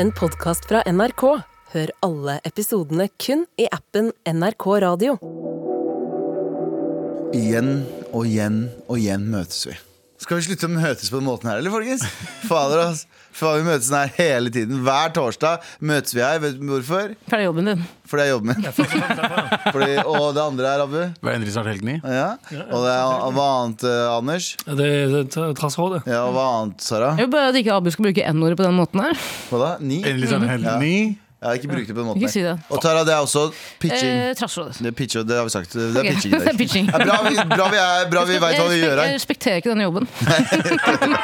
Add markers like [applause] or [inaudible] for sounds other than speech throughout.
en podkast fra NRK. Hør alle episodene kun i appen NRK Radio. Igjen og igjen og igjen møtes vi. Skal vi slutte å møtes på den måten her, eller, folkens? Fader, ass. Fader, vi møtes sånn her hele tiden. Hver torsdag møtes vi her. Vet du hvorfor? For det er jobben din. For det er jobben min. [laughs] Fordi, og det andre er Abu. Hva endrer snart helgen i? Ja. Og det er hva annet, eh, Anders? Ja, Det er trassrådet. Ja, og hva annet, Sara? Jeg vil bare at ikke Abu skal bruke n-ordet på den måten her. Hva da? Ni? Endelig snart helgen i? Jeg har ikke brukt det på den måten. Ikke si det. her. Og Tara, det er også pitching. Eh, Trassrådet. Det, er pitch, og det har vi sagt. Det er Ok, pitching i [laughs] det er dag. pitching. Ja, Eh, Bra vi, bra vi, er- bra vi veit hva vi Jeg gjør respek- Jeg her. respekterer ikke denne jobben.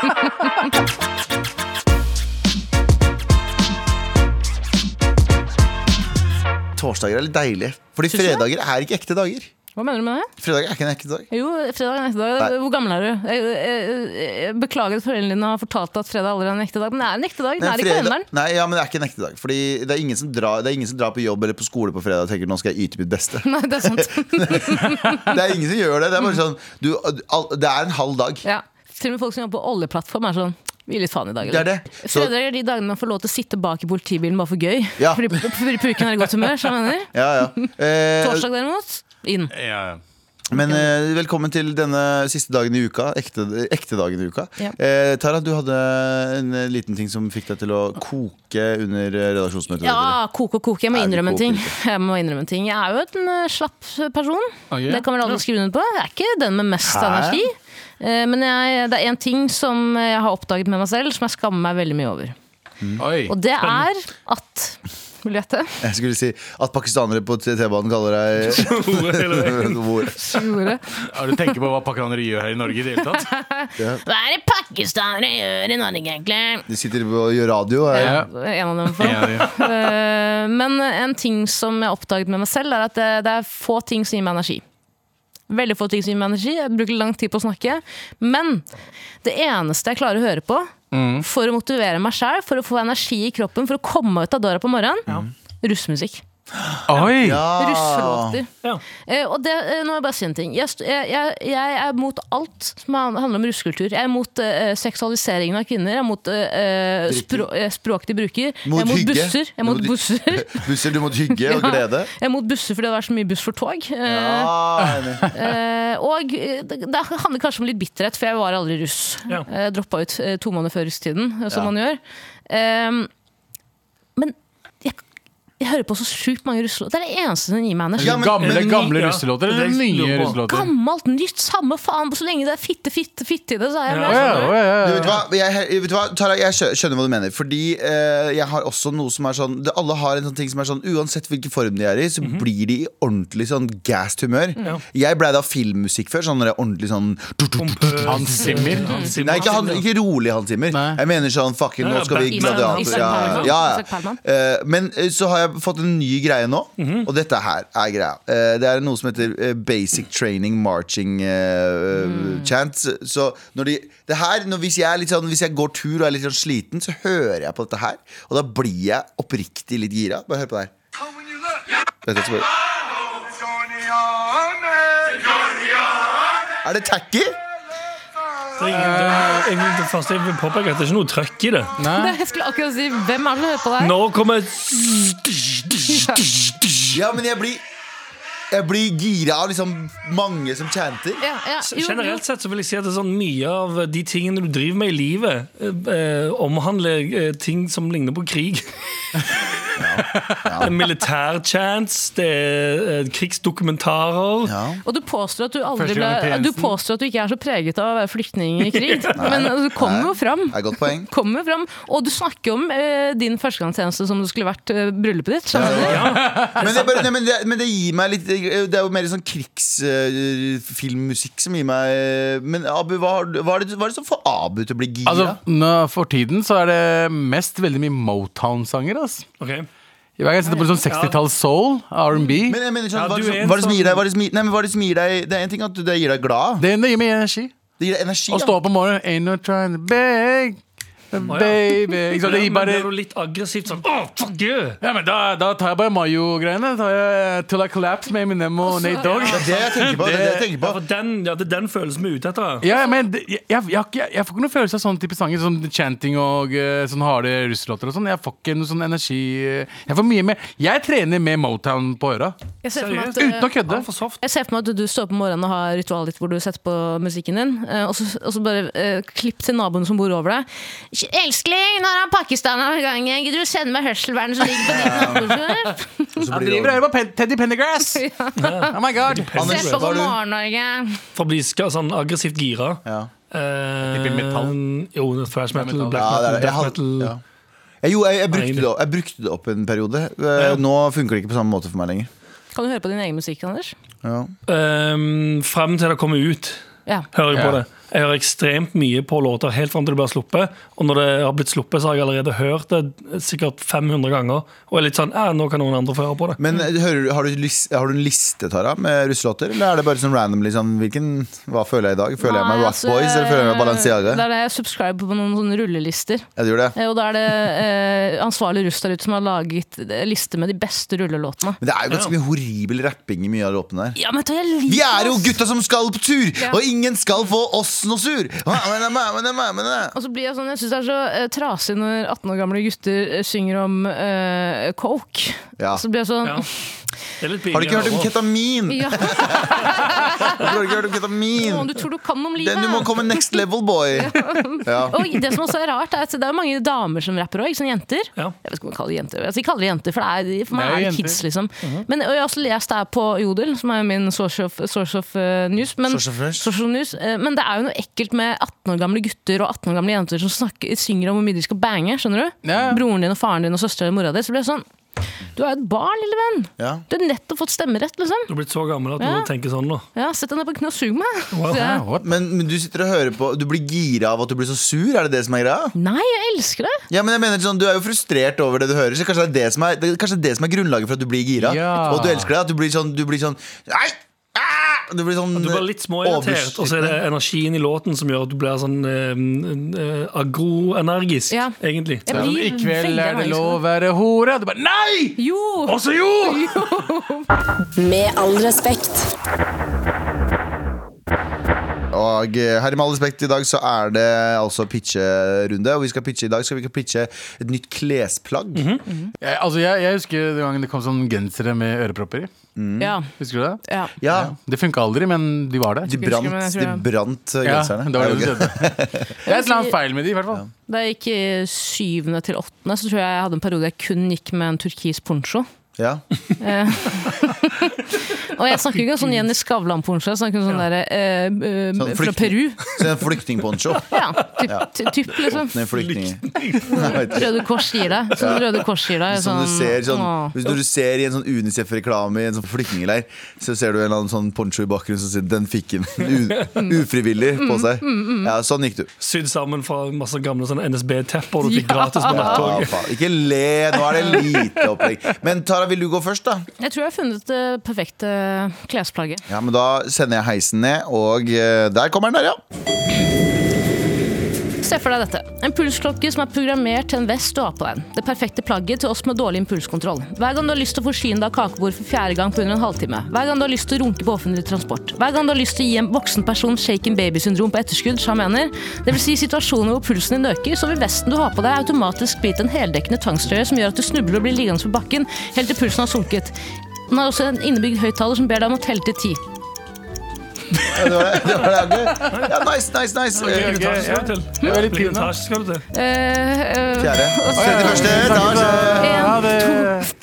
Torsdager er litt deilige. Fordi Syns du det? fredager er ikke ekte dager. Hva mener du med det? Fredager er ikke en ekte dag. Jo, fredag er en ekte dag. Nei. Hvor gammel er du? Jeg, jeg, jeg beklager at foreldrene dine har fortalt deg at fredag allerede er en ekte dag, men det er en ekte dag. Den er i fredag- kalenderen. Nei, ja, men det er ikke en ekte dag. Fordi det er ingen som drar, det er ingen som drar på jobb eller på skole på fredag og tenker 'nå skal jeg yte mitt beste'. Nei, det er [laughs] sant. Det er ingen som gjør det. Det er bare sånn du, all, Det er en halv dag. Ja. Til og med folk som jobber på oljeplattform, er sånn vi gir litt faen i dag. Det er eller? det. Så, Fredager er de dagene man får lov til å sitte bak i politibilen bare for gøy. Ja. Fordi pu- purken er i godt humør, som jeg mener. ja, ja. [laughs] [laughs] Eh, Torsdag derimot, inn. Mm. Ja, ja. men eh, velkommen til denne siste dagen i uka. Ekte, ekte dagen i uka. Ja. Eh, Tara, du hadde en eh, liten ting som fikk deg til å koke under eh, redaksjonsmøtet. Ja, koke og koke. Jeg må Nei, du innrømme en koker ting. ikke. Jeg må innrømme en ting. Jeg er jo en eh, slapp person. Ok. Det kan vel alle skrive under på. Jeg er ikke den med mest Hæ? energi. Eh, Men jeg, det er én ting som jeg har oppdaget med meg selv, som jeg skammer meg veldig mye over. Oi. Og [laughs] det er at Vil du gjette? Jeg skulle si at pakistanere på T- T-banen kaller deg [laughs] Hvor? Har du tenkt på hva pakistanere gjør her i Norge i det hele tatt? Hva er det pakistanere gjør i Norge, egentlig? De sitter og gjør radio. eh. Er, Ja. En av dem for. Ja, ja. Eh, Men en ting som jeg har oppdaget med meg selv, er at det, det er få ting som gir meg energi. Veldig få ting som gir meg energi. Jeg bruker lang tid på å snakke. Men det eneste jeg klarer å høre på Mm. for å motivere meg sjæl, for å få energi i kroppen, for å komme ut av døra på morgenen, russemusikk. Ah. Oi! Ja. Russelåter. Ja. Eh, og det, eh, nå må jeg bare si en ting. Jeg, st- jeg, jeg, jeg er mot alt som han- handler om russekultur. Jeg er mot eh, seksualiseringen av kvinner. Jeg er mot eh, språ, eh, språk de bruker. Mot jeg er mot hygge. busser. Jeg er mot Mot- busser. Busser, du mot hygge og [laughs] Ja. glede. Jeg er Eh, mot busser fordi det har vært så mye buss for tog. Eh, Ja, enig. [laughs] eh, og eh, det, det handler kanskje om litt bitterhet, for jeg var aldri russ. Ja. Jeg droppa ut eh, to måneder før russetiden, eh, som Ja. man gjør. Ehm, men jeg, jeg hører på så sjukt mange russelåter. Det er det eneste som gir meg energi. Ja, men- gamle men- gamle ja. russelåter Det eller er det jeg nye lurer på. russelåter? Gammelt, nytt, samme faen. Så lenge det er fitte, fitte, fitte i det, så er jeg Å Ja. med. ja, Du, å ja, ja. vet, du hva? Jeg, vet du hva, Tara, jeg skjø- skjønner hva du mener. Fordi eh, jeg har også noe som er sånn det, Alle har en sånn ting som er sånn Uansett hvilken form de er i, så blir de i ordentlig sånn gassed humør. Jeg blei det av filmmusikk før. Sånn når det er ordentlig sånn Hans Zimmer. Nei, ikke, han, ikke rolig Hans Zimmer. Nei. Jeg mener sånn fucking Nå Nei, ja, skal vi Batman. gladiator. Isak Ja, Perlman. ja, Isak ja. Perlman. Eh, Men eh, så har jeg fått en ny greie nå, og dette her er greia. Eh, Det er noe som heter eh, basic training marching eh, chants. Så når de Det her, når, hvis, jeg er litt sånn, hvis jeg går tur og er litt sånn sliten, så hører jeg på dette her, og da blir jeg oppriktig litt gira. Bare hør på det her. Dette er så bra. Er det tacky? Det Eh. er ingen, det, er egentlig det første jeg vil påpeke, at det er ikke noe trøkk i det. Det, sånn, [laughs] jeg skulle akkurat si hvem er det som hører på deg? Nå kommer Ja, men jeg blir jeg blir gira av liksom mange som chanter. Ja, ja, jo, jo. Generelt sett så vil jeg si at det er sånn mye av de tingene du driver med i livet, eh, eh, omhandler eh, ting som ligner på [laughs] krig. Det er militærchants, det er eh, krigsdokumentarer. Ja. Og du påstår, at du aldri Første gang i ble, du tjenesten. påstår at du ikke er så preget av å være flyktning i krig, [laughs] men altså, du kommer jo fram. Det er et godt [laughs] poeng. Kommer fram. Og du snakker om eh, din førstegangstjeneste som om det skulle vært eh, bryllupet ditt. skjønner du? Men det, er bare, nei, men, det, men det gir meg litt Det er jo mer sånn krigsfilmmusikk som gir meg eh, Men Abu, hva, har du- hva, er, det, hva er det som får Abu til å bli gira? Altså, nå, for tiden så er det mest veldig mye Motown-sanger. ass Ok. Hver gang jeg sitter på sånn 60-talls soul, R&B, men jeg mener sånn, Ja, hva, er du det er som, hva er det som en gir sånn- deg hva er det som, gir- Nei, men hva er det som gir deg Det er en ting at det gir deg glad det det gir meg energi. Det gir deg energi Å ja. stå opp om morgenen Ain't no trying to beg Baby Ikke sant, det gir bare Blir du litt aggressivt sånn Åh, fuck you! ja, men da, da tar jeg bare Mayo-greiene. Da tar jeg eh, Till I Collapse med Eminem og Nate Dogg. Det er det jeg tenker på. Det er det jeg tenker Ja, på. for den, ja, det er den følelsen vi er ute etter. [laughs] Ja, men det- jeg, jeg, jeg, har ikke- jeg får ikke noe følelse av sånne type sanger Sånn chanting og eh, sånn harde russelåter og sånn. Jeg får ikke noe sånn energi eh, Jeg får mye mer Jeg trener med Motown på øra. Jeg ser for meg at, eh, Uten å kødde. Han er for soft. Jeg ser for meg at du står opp om morgenen og har ritualet ditt hvor du setter på musikken din, eh, og så, og så bare eh, klipp til naboen som bor over deg. Elskling, nå er han pakistaner i gang. Gidder du sende meg hørselvernet som ligger på ditt nabobordsrør? Og så Han blir driver og det hører på Pen- Teddy Pendergrass! Oh my god. Anders, Se hva på har God du? morgen, Norge. For å bli ska- sånn aggressivt gira. Ja. Eh, Typen metall? Jo, det er thrash metal, metal. black Ja, det metal, er det. Jeg death hadde- metal. ja. Jeg, jo, jeg, jeg, brukte Nei. det, opp- jeg brukte det opp en periode. Eh, Nå funker det ikke på samme måte for meg lenger. Kan du høre på din egen musikk, Anders? Ja. Ehm, frem til det kommer ut, Ja. hører jeg på Ja. det. Jeg hører ekstremt mye på låter helt frem til det blir sluppet. Og når det har blitt sluppet, så har jeg allerede hørt det sikkert 500 ganger. Og er litt sånn, eh, nå kan noen andre få høre på det. Men eh, hører, du- har, du lis- har du en liste, Tara, med russelåter? Eller er det bare sånn random? Liksom, hvilken, hva føler jeg i dag? Føler jeg meg Nei, Rough altså, Boys, eller føler jeg meg Balenciaga? Det er det jeg subscriber på noen sånne rullelister. Ja, du gjør det. Eh, Og da er det eh, ansvarlig russ der ute som har laget eh, liste med de beste rullelåtene. Men det er jo ganske mye horribel rapping i mye av låtene her. Ja, men vet du hva, jeg liker Vi er jo oss. gutta som skal på tur, Ja. og ingen skal få oss noe sur. Og så blir Jeg sånn, jeg syns det er så eh, trasig når 18 år gamle gutter eh, synger om eh, coke. Ja. Så blir jeg sånn Ja. Det er litt Har du ikke hørt om ketamin? pinlig. altså. Ja, Hvorfor har du ikke hørt om [laughs] å, ketamin? du tror du kan om livet! Den du må komme next level, boy. Ja. Og det som også er rart, er at det er mange damer som rapper òg, ikke sånn jenter. Ja. Jeg vet ikke om jeg kaller det jenter. Altså, jeg kaller det jenter, for, det er, for meg Det er er jo det jenter. kids, liksom. Men og Jeg har også lest det her på Jodel, som er jo min source of, source of eh, news. Men, Source of news. source of news. Eh, men det er jo noe ekkelt med 18 år gamle gutter og 18 år gamle jenter som snakker, synger om hvor mye de skal bange. skjønner du? Ja. Broren din og faren din og søsteren din og mora di. Så blir det sånn Du er jo et barn, lille venn! Ja. Du har nettopp fått stemmerett, liksom. Du er blitt så gammel at du Ja. tenker sånn nå. Ja, Sett deg ned på kne og sug meg! Wow. Så jeg- What? Men, men du sitter og hører på Du blir gira av at du blir så sur? Er det det som er greia? Nei, jeg elsker det! Ja, men jeg mener sånn, Du er jo frustrert over det du hører, så kanskje det er det som er, det, kanskje det er, det som er grunnlaget for at du blir gira. Ja. Og at du elsker det. At du blir sånn, du blir sånn Nei! Ah! Du blir sånn Du blir litt småirritert, og så er det energien i låten som gjør at du blir sånn eh, eh, agroenergisk, Ja. egentlig. Jeg Sånn, blir I veldig kveld er det energisk. lov å være hore. Og Du bare nei! Jo! Også jo! Med all respekt. Og eh, her i Med all respekt, i dag så er det altså pitcherunde. Og vi skal pitche i dag skal vi ikke pitche et nytt klesplagg. Jeg, altså, jeg, jeg husker den gangen det kom sånn gensere med ørepropper i. Ja. Husker du det? ja. Ja, Det funka aldri, men de var der. De husker ikke, men brant, jeg tror de jeg- brant eh, Ja, genserne. det var Er det du det ok? skjønte. Det er et eller annet feil med de, i hvert fall. Da jeg gikk i syvende til åttende, så tror jeg jeg hadde en periode jeg kun gikk med en turkis poncho. ja. Og jeg snakker ikke om sånn Jenny Skavlan-poncho, jeg snakker om sånn derre eh, eh, Sånn fra flyktning- Peru. Så det er en flyktningponcho. [laughs] Ja, typ, ty- typ liksom. Nei, Sånn flyktning. [laughs] Røde Kors gir deg. Sånn Røde Kors gir deg. Som du ser, sånn, åh. hvis når du ser i en sånn Unicef-reklame i en sånn flyktningleir, så ser du en eller annen sånn poncho i bakgrunnen som sier 'den fikk en u ufrivillig på seg'. Ja, sånn gikk du. Sydd sammen fra masse gamle sånne NSB-tepper [laughs] du fikk gratis på Ja, nattoget. faen. Ikke le, nå er det lite opplegg. Men Tara, vil du gå først, da? Jeg tror jeg har funnet det perfekte klesplagget. Ja, men Da sender jeg heisen ned, og eh, der kommer den der, ja. Se for deg dette. En pulsklokke som er programmert til en vest du har på deg. Det perfekte plagget til oss med dårlig impulskontroll. Hver gang du har lyst til å forsyne deg av kakebord for fjerde gang på under en halvtime. Hver gang du har lyst til å runke på offentlig transport. Hver gang du har lyst til å gi en voksen person shaken baby-syndrom på etterskudd, som han mener. Det vil si situasjoner hvor pulsen din øker, så vil vesten du har på deg automatisk bli til en heldekkende tvangstrøye som gjør at du snubler og blir liggende på bakken helt til pulsen har sunket. Den har også en innebygd høyttaler som ber deg om å telle til ti. Ja, Det var det. [laughs] det, var det. ok. Ja, nice, nice, nice. Eh, Hvilken etasje skal du til? Det var litt Hvilken pinlig. etasje skal du til? Eh, eh, [laughs] Fjerde. 31. etasje. Ja, det,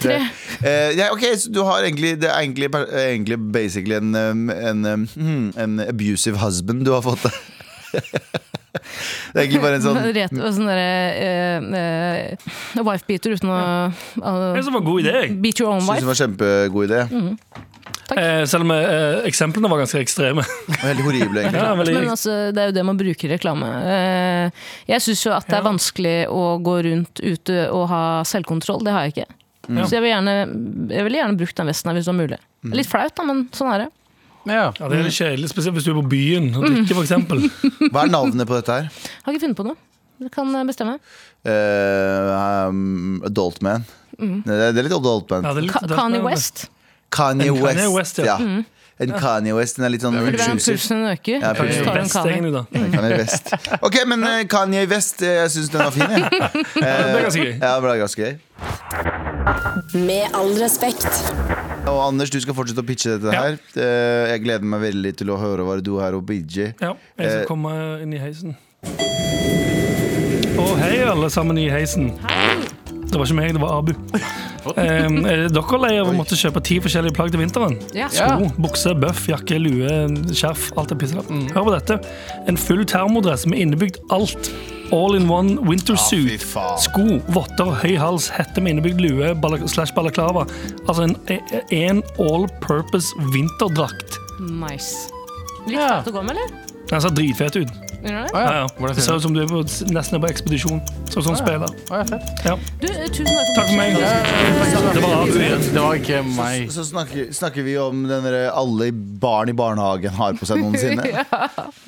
tre. Eh, ja, ok, så du har egentlig Det er egentlig, per- eh, egentlig basically en, um, en, um, hmm, en abusive husband du har fått [laughs] deg. det er egentlig bare en [laughs] sånn Ret, og sånn derre uh, wife-beater uten å eh, Det som var en god idé, jeg. Beat your own sånn- Synes det wife. var en kjempegod idé. Eh, selv om eh, eksemplene var ganske ekstreme. Og Veldig horrible, egentlig. [laughs] Ja, veldig- Men altså, det er jo det man bruker i reklame. Eh, jeg syns jo at det er vanskelig å gå rundt ute og ha selvkontroll. Det har jeg ikke. Mm. Så jeg vil gjerne, jeg ville gjerne brukt den vesten her hvis det var mulig. Det er Litt flaut, da, men sånn er det. ja. ja, Mm. det er litt kjedelig, spesielt hvis du er på byen og drikker, for eksempel Hva er navnet på dette her? Har ikke funnet på noe. Du kan eh, bestemme. Eh, um, adult man. Det, er- det er litt adult man. Ja, det er litt- Ka det er- Kanye West. Kanye En Kanye West. West, ja. ja. En Kanye West. Den er litt sånn Burde være en intrusive. pulsen øker. Ja, så pulsen tar du en Best, Kanye. egentlig, da. Ja, Kanye West. Ok, men eh, Kanye West, eh, jeg syns den var fin. jeg. Det er ganske gøy. Ja, det var ganske gøy. Med all respekt. Og Anders, du skal fortsette å pitche dette Ja. her. Eh, Jeg gleder meg veldig til å høre hva du har å bidje. Ja, jeg Eh, skal komme inn i heisen. Og hei, alle sammen i heisen. Det var ikke meg, det var [laughs] Abu. Um, er dere lei av å måtte kjøpe ti forskjellige plagg til vinteren? Ja. Ja. Sko, bukse, bøff, jakke, lue, skjerf, alt det pisset. Hør på dette. En full termodress med innebygd alt. All in one winter fy suit. faen. Sko, votter, høy hals, hette med innebygd lue bala- slash balaklava. Altså en, en all purpose vinterdrakt. Nice. Litt Ja. fett å gå med, eller? Den ser dritfet Gjør ut. du det? Å, Ja, ja. Hvordan Det ser ser ut det? som du er på, nesten er på ekspedisjon. Sånn som spiller. Å, ja, fett. Ja. Du, eh, tusen takk for Takk for meg. Det var Abu igjen. Det var ikke Så, meg. så snakker, snakker vi om den der alle barn i barnehagen har på seg noensinne.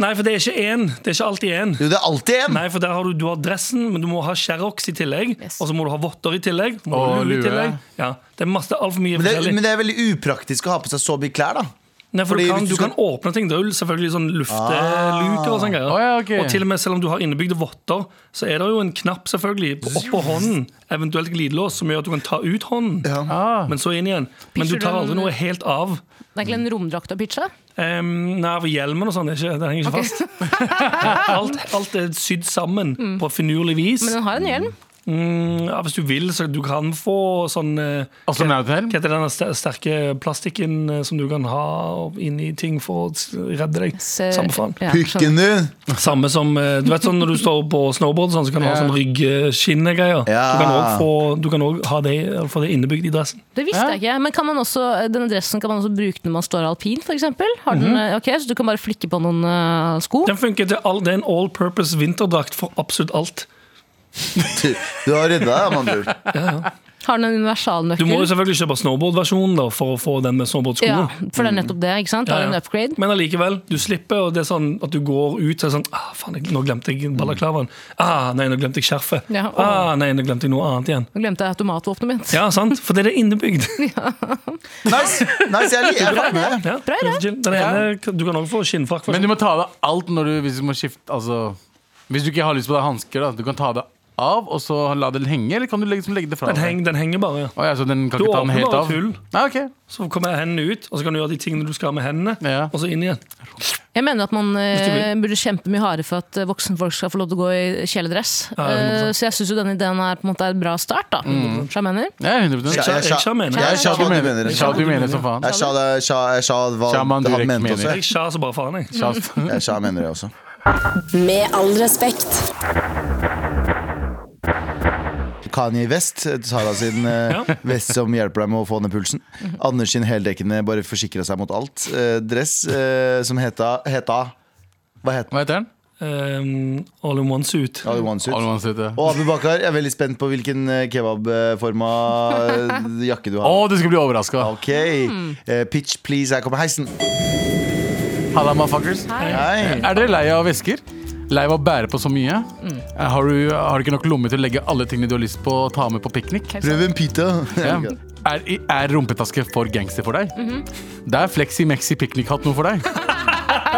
Nei, for det er ikke én. Det er ikke alltid én. Jo, det er alltid en! Nei, for der har du, du har dressen, men du må ha Xerox i tillegg. Yes. Og så må du ha votter i tillegg. Må Og ha lue. i lue. tillegg. Ja, det er masse altfor mye Men det, forskjellig. men det er veldig upraktisk å ha på seg så mye klær, da. Nei, for fordi du, kan, hvis du du kan skal- åpne ting. Det er jo selvfølgelig sånn lufteluker og sånne greier. Å, ja, ok. Og til og med selv om du har innebygde votter, så er det jo en knapp selvfølgelig oppå hånden, eventuelt glidelås, som gjør at du kan ta ut hånden, Ah. men så inn igjen. Men du Pitcher tar du- aldri noe helt av. Det er ikke en romdrakt og pitcha? Um, nei, for hjelmen og sånn, det er ikke- det henger ikke fast. [laughs] alt, alt er sydd sammen på finurlig vis. Mm. Men den har en hjelm. Mm, ja, hvis du vil, så du kan få sånn eh, Astronauthelm? Hva heter den ster- sterke plastikken eh, som du kan ha inni ting for å s- redde deg? Ser- Samme faen. Ja, skjønner. Pukken din! Samme som eh, Du vet sånn når du står på snowboard, sånn, så kan du ha Ja. sånn ryggskinnegreier. Ja. Du kan også få- Du kan òg ha det, få det innebygd i dressen. Det visste jeg ikke. Men kan man også, denne dressen kan man også bruke når man står alpin, f.eks.? Mhm. Ok, så du kan bare flikke på noen eh, sko? Den funker til all, Det er en all purpose vinterdrakt for absolutt alt. Du, du har redda deg, med andre ord. Har den en Du må jo universalnøkkel? selvfølgelig kjøpe snowboardversjonen da, for å få den med snowboardsko. Ja, for det er nettopp det. ikke sant? Mm. Ja, Har ja. en upgrade? Men allikevel, du slipper og det er sånn at du går ut og er det sånn ah, faen, jeg- Nå glemte jeg balaklavaen. Ah, nei, nå glemte jeg skjerfet. Ja, og- ah, nei, nå glemte jeg noe annet igjen. Nå glemte jeg automatvåpenet mitt. Ja, sant? For det er det innebygd. [laughs] Nice! nice jeg liker jeg liker det. Ja, det er så chill. Den ene, du kan også få skinnfrakk. for Men sånn. du må ta av deg alt når du, hvis du må skifte altså, Hvis du ikke har lyst på deg hansker, da, du kan ta det av og så la den henge, eller kan du liksom legge det fra Den, deg? heng, den henger bare. ja. Å ja, så den kan Du ikke ta den åpner helt bare av? et hull, Nei, ok. så kommer hendene ut, og så kan du gjøre de tingene du skal med hendene, Ja. og så inn igjen. Jeg mener at man du vil. eh, burde kjempe mye hardere for at eh, voksenfolk skal få lov til å gå i kjeledress. Ja, det er Mm. Eh, sant. så jeg syns jo den ideen er på en måte er en bra start, da. Skjønner du hva jeg mener? Ja, Ja, 100 ja. Jeg Jeg sa- Jeg sa mener. Jeg sa hva du mener. sa du mener som faen. Jeg sa det, jeg sa, jeg sa hva Shaman han direkt mente mener. også. Jeg sa så bare faen, jeg. Sa- [laughs] Jeg sa mener det også. Med all respekt. Kanye West, Sara sin eh, vest som hjelper deg med å få ned pulsen. Anders sin heldekkende bare forsikra seg mot alt. eh, dress eh, som heta, heta Hva het den? Hva heter den? Um, all in one suit. Ja, det var one suit. All one suit, ja. Og Abu Bakar, jeg er veldig spent på hvilken eh, kebabforma eh, jakke du Å, har. du skal bli overraska. Ok, Eh, Pitch, please, her kommer heisen. Halla, motherfuckers. Hei. Er dere lei av vesker? Lei av å bære på så mye? Mm. Eh, Har, du, har du ikke nok lommer til å legge alle tingene du har lyst på å ta med på piknik? Prøv en pita. [laughs] Ja. Er, er rumpetaske for gangster for deg? Mhm. Det er Flexi Mexi piknikhatt noe for [laughs] deg.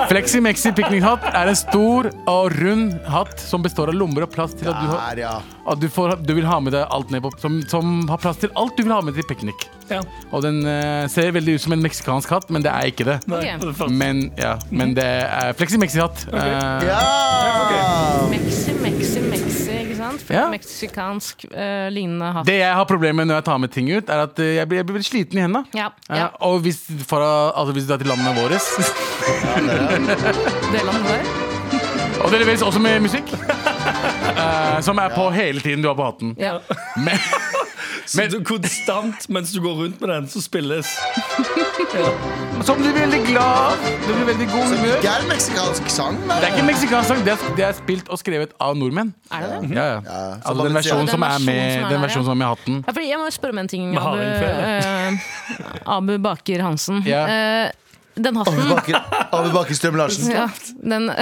Flexi Mexi piknikhatt er en stor og rund hatt som består av lommer og plass til at du, har, Der, ja. at du, får, du vil ha med deg alt ned på som, som har plass til alt du vil ha med til piknik. Ja. Og den eh, ser veldig ut som en meksikansk hatt, men det er ikke det. Nei, Ok. det er fast. Men, ja, men det er Flexi Mexi-hatt. Eh, Ja! Mexi, Mexi, Mexi, ikke sant? For Ja. Meksikansk eh, lignende hatt. Det jeg har problemer med når jeg tar med ting ut, er at eh, jeg blir, jeg blir sliten i hendene. Ja, Eh, ja. og hvis, for, å- altså, hvis du er til landene våre Det landet der. Og det leveres også med musikk. [laughs] eh, som er på hele tiden du har på hatten. Ja. [laughs] Men, Så du konstant mens du går rundt med den, så spilles som du blir veldig glad av. Du blir veldig god humør. Det er en meksikansk sang. Det er ikke en meksikansk sang. Det er, det er spilt og skrevet av nordmenn. Er det det? Ja, ja. Ja, så Altså den Balenciaga- versjonen som er med der, Den versjonen som er med i hatten. Ja, fordi jeg må jo spørre om en ting, Med Abu, halen eh, Abu Baker Hansen. Ja. Eh, den hatten Abu Baker Strøm Larsen. ja, den, [laughs]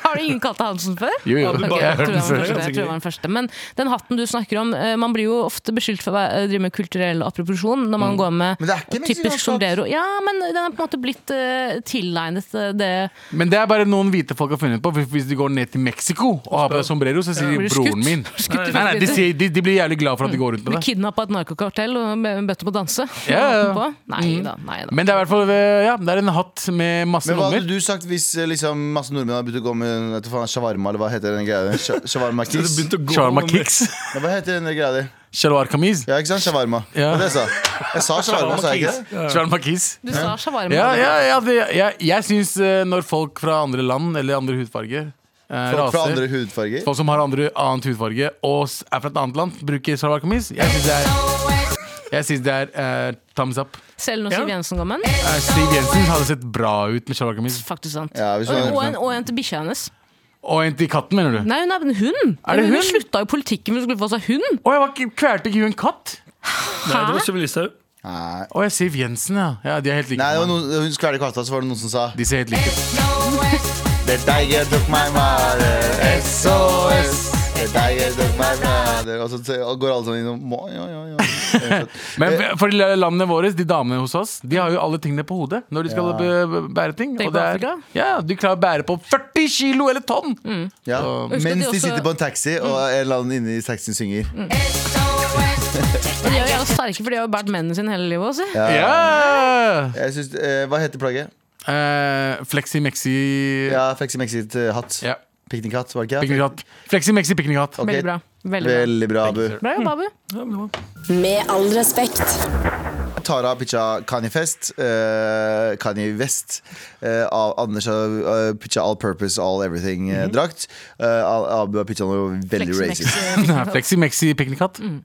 Har du ingen kalte Hansen før? [laughs] Jo, jo. Ok, bare jeg hørt tror jeg var den den før, første. Jeg tror jeg sikkert. var den første. Men den hatten du snakker om, eh, man blir jo ofte beskyldt for å være- drive med kulturell appropriasjon når man går med Men det er ikke en typisk meksikansk hatt. sombrero. Ja, men den er på en måte blitt eh, tilegnet eh, det Men det er bare noen hvite folk har funnet på. for Hvis de går ned til Mexico og har på seg sombrero, så sier de Blir du 'broren skutt? min'. Skutt i Nei, nei, de, fjeset? sier, de, de blir jævlig glad for at de går rundt med Blir det. kidnappa av et narkokartell og be- bedt om å danse? Ja, ja, ja. På? Nei da. Nei da. Men det er i hvert fall eh, ja, det er en hatt med masse Men hva lommer. hadde du sagt hvis eh, liksom, masse nordmenn hadde begynt å gå med vet du faen, shawarma, eller hva heter den greia der? Sha- [laughs] Shawarma Det kiss? begynte å gå Sharma med- kicks. Ja, hva heter den greia der? [laughs] Shalwar kameez. Ja, ikke sant? Shawarma. Ja. Ja. Det jeg sa jeg. sa shawarma, sa jeg ikke det? Sharma kiss. Du sa shawarma. Ja, ja, ja, det, jeg, jeg syns eh, når folk fra andre land eller andre hudfarger eh, Folk fra raser, andre hudfarger? Folk som har andre, annet hudfarge og s- er fra et annet land, bruker shalwar kameez. Jeg syns det er, jeg synes det er eh, thumbs up. Selv når Ja. Siv Jensen går med den? Eh, Stig Jensen hadde sett bra ut med shalwar kameez. Faktisk sant. Ja, hvis og, du har- og, en, og en til bikkja hennes. Og en til katten, mener du? Nei, hun er en hund! Er det hund? Hun slutta i politikken for hun skulle få seg hund! Å, jeg var ikke- kvelte ikke hun en katt? Nei, det var Sylvi Listhaug. Nei. Å, jeg Siv Jensen, ja. ja. De er helt like. Nei, det var noen, hun skvelte katta, så var det noen som sa De ser helt like ut. Det er deg jeg tok meg med eh, SOS Det er deg jeg tok meg med Og så t- og går alle sånn innom «Må, Ja, ja, ja Eh, Men for landene våre, de damene hos oss, de har jo alle tingene på hodet når de skal Ja. bæ- bære ting. Tenk Og det på er, Afrika. ja, de klarer å bære på 40 kilo eller tonn! [laughs] ja. Husk at de Mens de også- sitter på en taxi Og en eller annen inne i taxien synger Men de er jo sterke, for de har jo båret mennene sine hele livet også. Ja! Jeg synes, eh, Hva heter plagget? Eh, Flexi Mexi ja. Ja, Flexi Mexit eh, hatt Piknikhatt, var det ikke? Piknikhatt. Flexi Mexi piknikhatt. Ok. Veldig bra. Veldig bra. Veldig bra, Abu Bra jobba, Abu. Med all respekt. Tara pitcha Kanye Fest, eh, Kanye West. eh, Al- Anders har eh, pitcha All Purpose, All eh, Everything-drakt. Abu har pitcha noe veldig Flexi- racist. [laughs] Nei, [laughs] Flexi Mexi piknikhatt. Mm.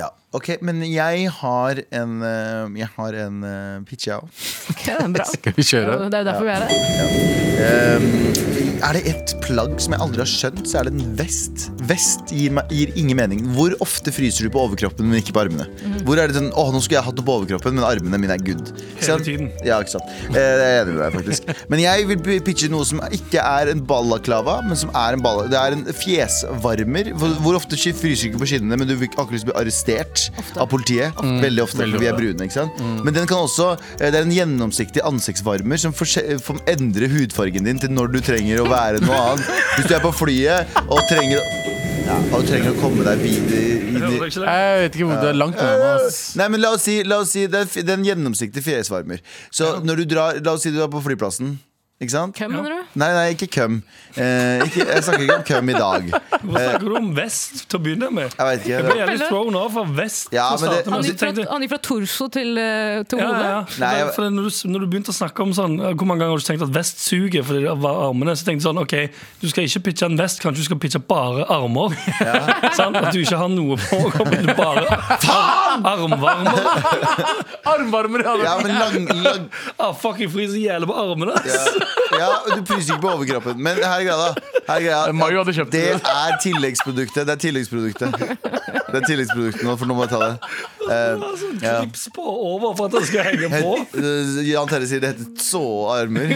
Ja. Ok, men jeg har en, eh, jeg har en eh, pitch, jeg òg. Ok, det er bra. Skal [laughs] vi kjøre? Det er jo derfor vi er her. Ehm, Er det et plagg som jeg aldri har skjønt, så er det en vest. Vest gir, meg, gir ingen mening. Hvor ofte fryser du på overkroppen, men ikke på armene? Hvor er det sånn, åh, nå skulle jeg hatt noe på overkroppen, men armene mine er good. Hele Sånn- tiden. Ja, ikke sant. Eh, det er jeg enig med deg, faktisk. Men jeg vil p- pitche noe som ikke er en ballaklava, men som er en balla... Det er en fjesvarmer. Hvor, hvor ofte sk- fryser du ikke på skinnene, men du vil ikke akkurat bli arrestert av politiet. Mm. Veldig ofte, Mm. for vi er brune, ikke sant. Men den kan også eh, Det er en gjennomsiktig ansiktsvarmer som forse- som endrer hudfargen din til når du trenger å være noe annet. Hvis du er på flyet og trenger ja, og trenger å komme deg videre Jeg inn i hører ikke det. Jeg vet ikke hvor det er langt unna. ass. Nei, men la oss si, la oss si det, er, f- det er en gjennomsiktig fjesvarmer. Så når du drar, la oss si du er på flyplassen. Ikke sant? Hvem mener du? Nei, nei, ikke køm. Eh, ikke, jeg snakker ikke om køm i dag. Hvorfor snakker du om vest til å begynne med? Jeg vet Jeg ble ikke. jævlig Eller- thrown off av vest. Ja, til å men det- starte med, Han så gikk fra, tenkte jeg- han gikk fra torso til, eh, til Ja, hodet. ja, ja. Nei, Det er jeg- fordi når, du, når du begynte å snakke om sånn ja, Hvor mange ganger har du tenkt at vest suger fordi det var armene? Så tenkte jeg sånn, ok, du skal ikke pitche en vest, kanskje du skal pitche bare armer? [laughs] Sånn, at du ikke har noe på kroppen, du bare Faen! armvarmer. Armvarmere! hadde- Eh, Ja, men lang, lang Ah, fuck, jeg fryser i hjel på armene. ja. ja, du fryser ikke på overkroppen. Men her er greia, da. Her er greia. Mario hadde kjøpt det det. er tilleggsproduktet. Det er tilleggsproduktet Det er tilleggsproduktet nå, for nå må jeg ta det. Eh, Ja. Sånn Ja. klips på over for at det skal henge på. Het, eh, Jan Terje sier det heter så armer.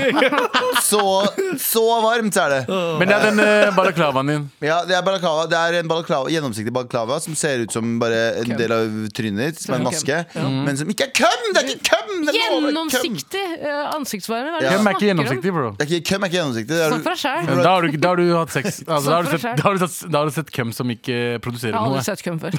Så, så varmt er det. Men det er den eh, balaklavaen din. Ja, det er balaklava. Det er en balaklava, gjennomsiktig balaklava som ser ut som bare en del av trynet ditt, som er en maske. Men som ikke er køm! Det er ikke køm! Det er ikke over- køm! Gjennomsiktig eh, ansiktsvarme. Hva er det Ja. Hvem du er ikke snakker om? gjennomsiktig, bro? Det er ikke, køm er ikke gjennomsiktig. Det er, Snakk for deg selv. Men Da har du, ikke- da har du [laughs] hatt sex. Altså, da, har du Snakk for deg sett, selv. da, har du sett, da har du sett hvem som ikke produserer Jeg har noe. aldri sett køm før.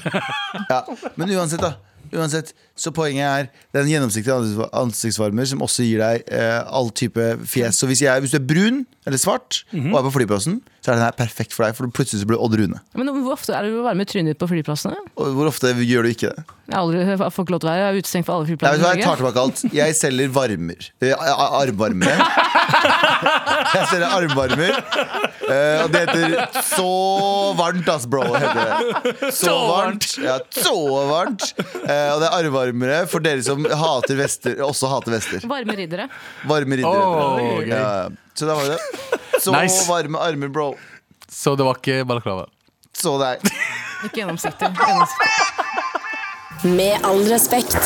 ja. Men uansett, da. Uansett, så poenget er Det er en gjennomsiktig ansikts- ansiktsvarmer som også gir deg eh, all type fjes. Så hvis, jeg, hvis du er brun eller svart og er på flyplassen, så er den her perfekt for deg, for plutselig så blir du Odd Rune. Men hvor ofte er det du varme i trynet ditt på flyplassene? Og hvor ofte gjør du ikke det? Jeg har aldri jeg får ikke lov til å være jeg er utestengt fra alle Nei, vet flyplasser. du hva, i Jeg tar Norge. tilbake alt. Jeg selger varmer. Eh, a- a- armvarmere. Jeg selger armvarmer. Eh, og det heter 'Så varmt', ass, bro. Heter det. Så varmt. Ja, så varmt. Eh, og det er armvarmere for dere som hater vester, også hater vester. Varme riddere. Varme riddere. Åh, gøy. ja, ja. Så da var det. Så Nice. varme armer, bro. Så det var ikke balaklava. Så deg. Ikke gjennomsiktig. gjennomsiktig. Med all respekt.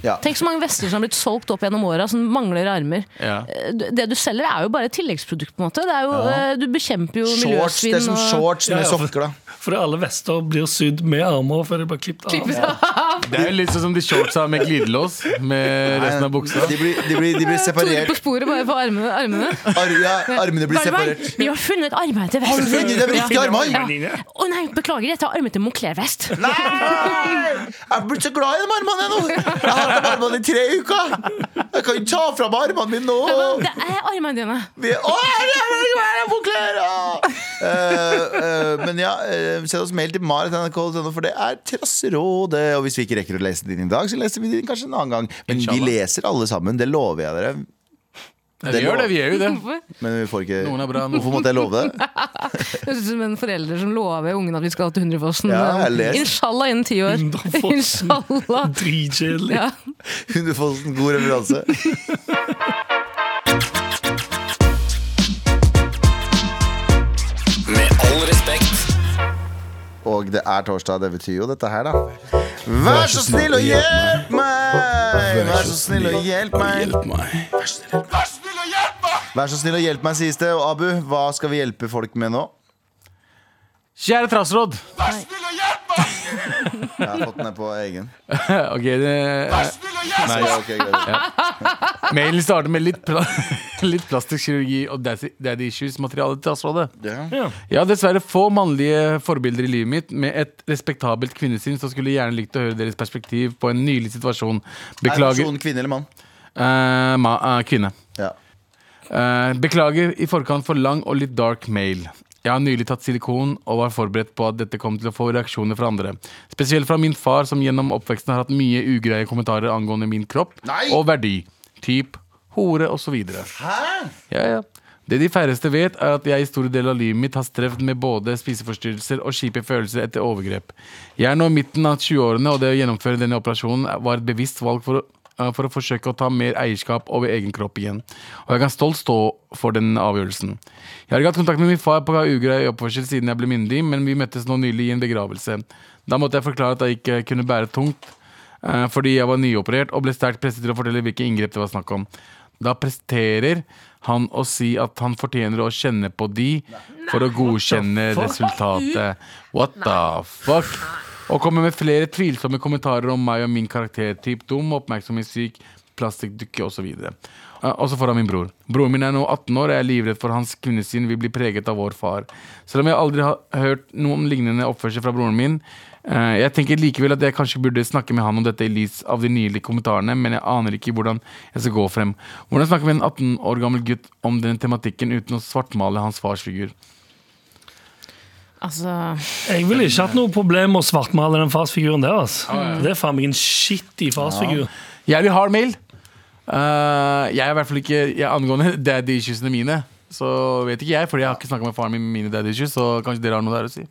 Ja. Tenk så mange vester som har blitt solgt opp gjennom åra, som mangler armer. Ja. Eh, Det du selger, er jo bare et tilleggsprodukt. på en måte det er jo, eh, Du bekjemper jo Shorts, miljøsvinn. det er som shorts med Ja, ja, for- sokker, da. Fordi alle vester blir sydd med armer før de bare klippet av. Det er jo litt sånn som de shortsa med glidelås med resten av buksa. De blir, de blir, de blir Tore på separert. sporet bare på armene. armene. Ar ja, [laughs] armene blir Bergveien, separert. vi har funnet armene til Har du vesten! funnet det riktige Ja. armene? Ja. Å nei, beklager, jeg tar armene til Moncler-vest. Nei! Jeg er blitt så glad i de armene jeg nå. Jeg har hatt de armene i tre uker. Jeg kan ikke ta fra meg armene mine nå. Det er armene dine. Vi, å, jeg er veldig glad i forklær! Eh, eh, men ja, eh, send oss mail til marit.nrk.no, for det er Trasserådet. Og hvis vi ikke rekker å lese den i dag, så leser vi den kanskje en annen gang. Men vi Inshallah. leser alle sammen, det lover jeg dere. Vi gjør det, vi gjør jo det. Men vi får ikke Noen er bra, noen- Hvorfor måtte jeg love det? Det høres ut som en forelder som lover ungen at vi skal til Hundrefossen. Ja, jeg leser. Inshallah innen ti år. Hundrefossen. [laughs] Inshallah. Dritkjedelig. Ja. Hundefossen, god referanse. Med all respekt. Og det er torsdag, det betyr jo dette her, da. Vær så snill og hjelp meg! Vær så snill og hjelp meg! Vær så snill og hjelp meg, sies det. Og Abu, hva skal vi hjelpe folk med nå? Kjære trassråd. [laughs] Jeg har fått den her på egen. Ok, det, Nei, ok, greit. Mailen starter med litt, pla [laughs] litt plastisk kirurgi og daddy daddy issues-materiale til Trassrådet. Ja. Jeg har dessverre få mannlige forbilder i livet mitt med et respektabelt kvinnesyn, så skulle jeg gjerne likt å høre deres perspektiv på en nylig situasjon. Er Beklager personen kvinne eller mann? Eh, ma eh, Kvinne. Ja. Eh, beklager i forkant for lang og litt dark mail. Jeg har nylig tatt silikon og var forberedt på at dette kom til å få reaksjoner fra andre. Spesielt fra min far, som gjennom oppveksten har hatt mye ugreie kommentarer angående min kropp Nei! og verdi. Typ hore osv. Ja, ja. Det de færreste vet, er at jeg i store deler av livet mitt har strevd med både spiseforstyrrelser og kjipe følelser etter overgrep. Jeg er nå i midten av 20-årene, og det å gjennomføre denne operasjonen var et bevisst valg for å eh, for å forsøke å ta mer eierskap over egen kropp igjen. Og jeg kan stolt stå for den avgjørelsen. Jeg har ikke hatt kontakt med min far på ugrei oppførsel siden jeg ble myndig, men vi møttes nå nylig i en begravelse. Da måtte jeg forklare at jeg ikke kunne bære tungt, eh, fordi jeg var nyoperert og ble sterkt presset til å fortelle hvilke inngrep det var snakk om. Da presterer han å si at han fortjener å kjenne på de for å godkjenne resultatet. What the fuck? Og kommer med flere tvilsomme kommentarer om meg og min karaktertyp. Dum, oppmerksomhetssyk, plastikkdukke osv. Også foran min bror. Broren min er nå 18 år, og jeg er livredd for hans kvinnesyn vil bli preget av vår far. Selv om jeg aldri har hørt noen lignende oppførsel fra broren min, eh, jeg tenker likevel at jeg kanskje burde snakke med han om dette i lys av de nylige kommentarene, men jeg aner ikke hvordan jeg skal gå frem. Hvordan snakke med en 18 år gammel gutt om den tematikken uten å svartmale hans farsfigur? Altså, Jeg ville ikke hatt noe problem med å svartmale den farsfiguren der. Altså. Det er faen meg en shitty farsfigur. Jævlig hard mail. Eh, jeg er i hvert fall ikke jeg, Angående [laughs] daddy issuesene mine, så vet ikke jeg, Fordi jeg har ikke snakka med faren min om mine daddy issues, så kanskje dere har noe der å si.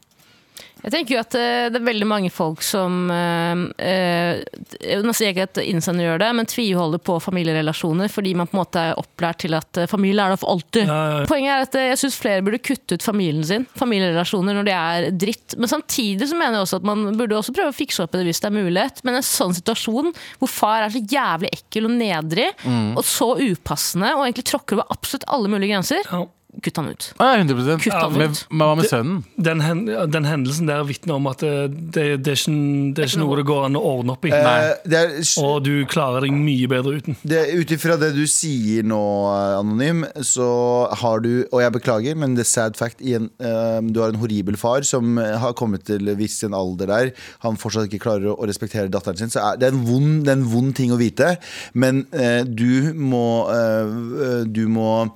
jeg tenker jo at eh, det er veldig mange folk som eh, eh, Nå sier jeg ikke at innsender gjør det, men tviholder på familierelasjoner fordi man på en måte er opplært til at eh, familie er der for alltid. Ja, ja. Poenget er at eh, jeg syns flere burde kutte ut familien sin, familierelasjoner, når de er dritt. Men samtidig så mener jeg også at man burde også prøve å fikse opp i det hvis det er mulighet. Men en sånn situasjon hvor far er så jævlig ekkel og nedrig, Mm. og så upassende, og egentlig tråkker over absolutt alle mulige grenser, Ja. kutt han ut. Ah, 100 Kutt han med, ut. med, Hva med sønnen? Den, hen, den hendelsen der vitner om at det, det, det, er ikke, det er ikke noe det går an å ordne opp i. Eh, Det er, Og du klarer deg mye bedre uten. det- Ut ifra det du sier nå, eh, Anonym, så har du Og jeg beklager, men the sad fact igjen. eh, Du har en horribel far som eh, har kommet til viss en alder der han fortsatt ikke klarer å å respektere datteren sin. Så er, det, er en vond, det er en vond ting å vite, men eh, du må eh, eh, Du må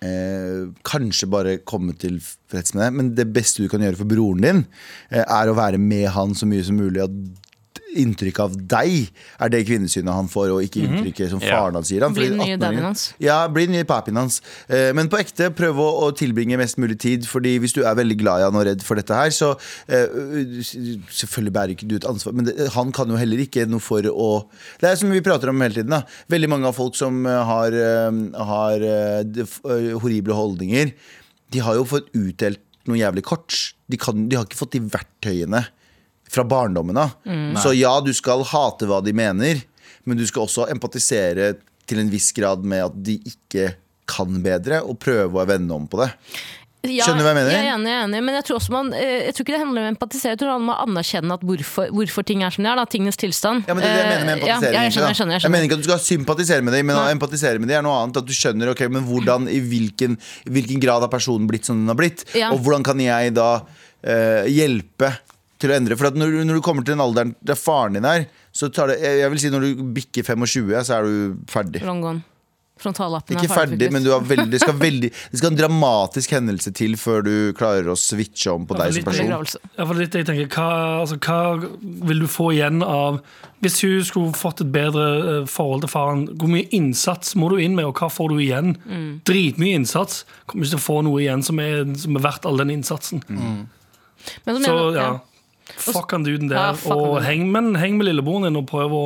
Eh, kanskje bare komme tilfreds med det, men det beste du kan gjøre for broren din, eh, er å være med han så mye som mulig. At inntrykket av deg er det kvinnesynet han får, og ikke inntrykket som faren hans gir ham. Bli fordi den nye 18-åringen- daddyen hans. Ja, bli den nye papien hans. Eh, men på ekte, prøv å, å tilbringe mest mulig tid, fordi hvis du er veldig glad i han og redd for dette her, så eh, Selvfølgelig bærer ikke du et ansvar, men det, han kan jo heller ikke noe for å Det er som vi prater om hele tiden, da. Veldig mange av folk som eh, har, eh, har eh, de- f- eh, horrible holdninger, de har jo fått utdelt noe jævlig kort. De, kan, de har ikke Mm. fått de verktøyene fra barndommen av. Så ja, du skal hate hva de mener. men du skal også empatisere til en viss grad med at de ikke kan bedre, og prøve å vende om på det. Ja, Skjønner du hva jeg mener? Jeg er enig, jeg er enig men jeg tror, også man, eh, jeg tror ikke det handler om å empatisere. Jeg tror det handler om å anerkjenne at hvorfor, hvorfor ting er som de er. Da, tingenes tilstand. Ja, men det er det jeg mener med Eh, ja, empatisering. ja, egentlig, jeg da. skjønner, jeg skjønner, mener jeg skjønner. ikke at du skal sympatisere med dem, men å Nei. empatisere med dem er noe annet. At du skjønner ok, men hvordan, i hvilken, i hvilken grad har personen blitt som den har blitt, Ja. og hvordan kan jeg da eh, hjelpe til å endre. For at når, du- når du kommer til den alderen der faren din er, så tar det jeg, jeg vil si når du bikker 25, så er du ferdig. Long gone. Frontallappen Ikke ferdig, men du har veldig, [laughs] det skal veldig Det skal en dramatisk hendelse til før du klarer å switche om på deg som litt person. Ja, for det er litt det jeg tenker, hva, altså, hva vil du få igjen av Hvis hun skulle fått et bedre eh, forhold til faren, hvor mye innsats må du inn med, og hva får du igjen? Dritmye innsats. Kommer ikke til å få noe igjen som er, som er verdt all den innsatsen. Mm. Men så Så mener, ja, ja. fuck han duden Ja, der. fuck han og duden. heng, men, heng med lillebroren din og prøv å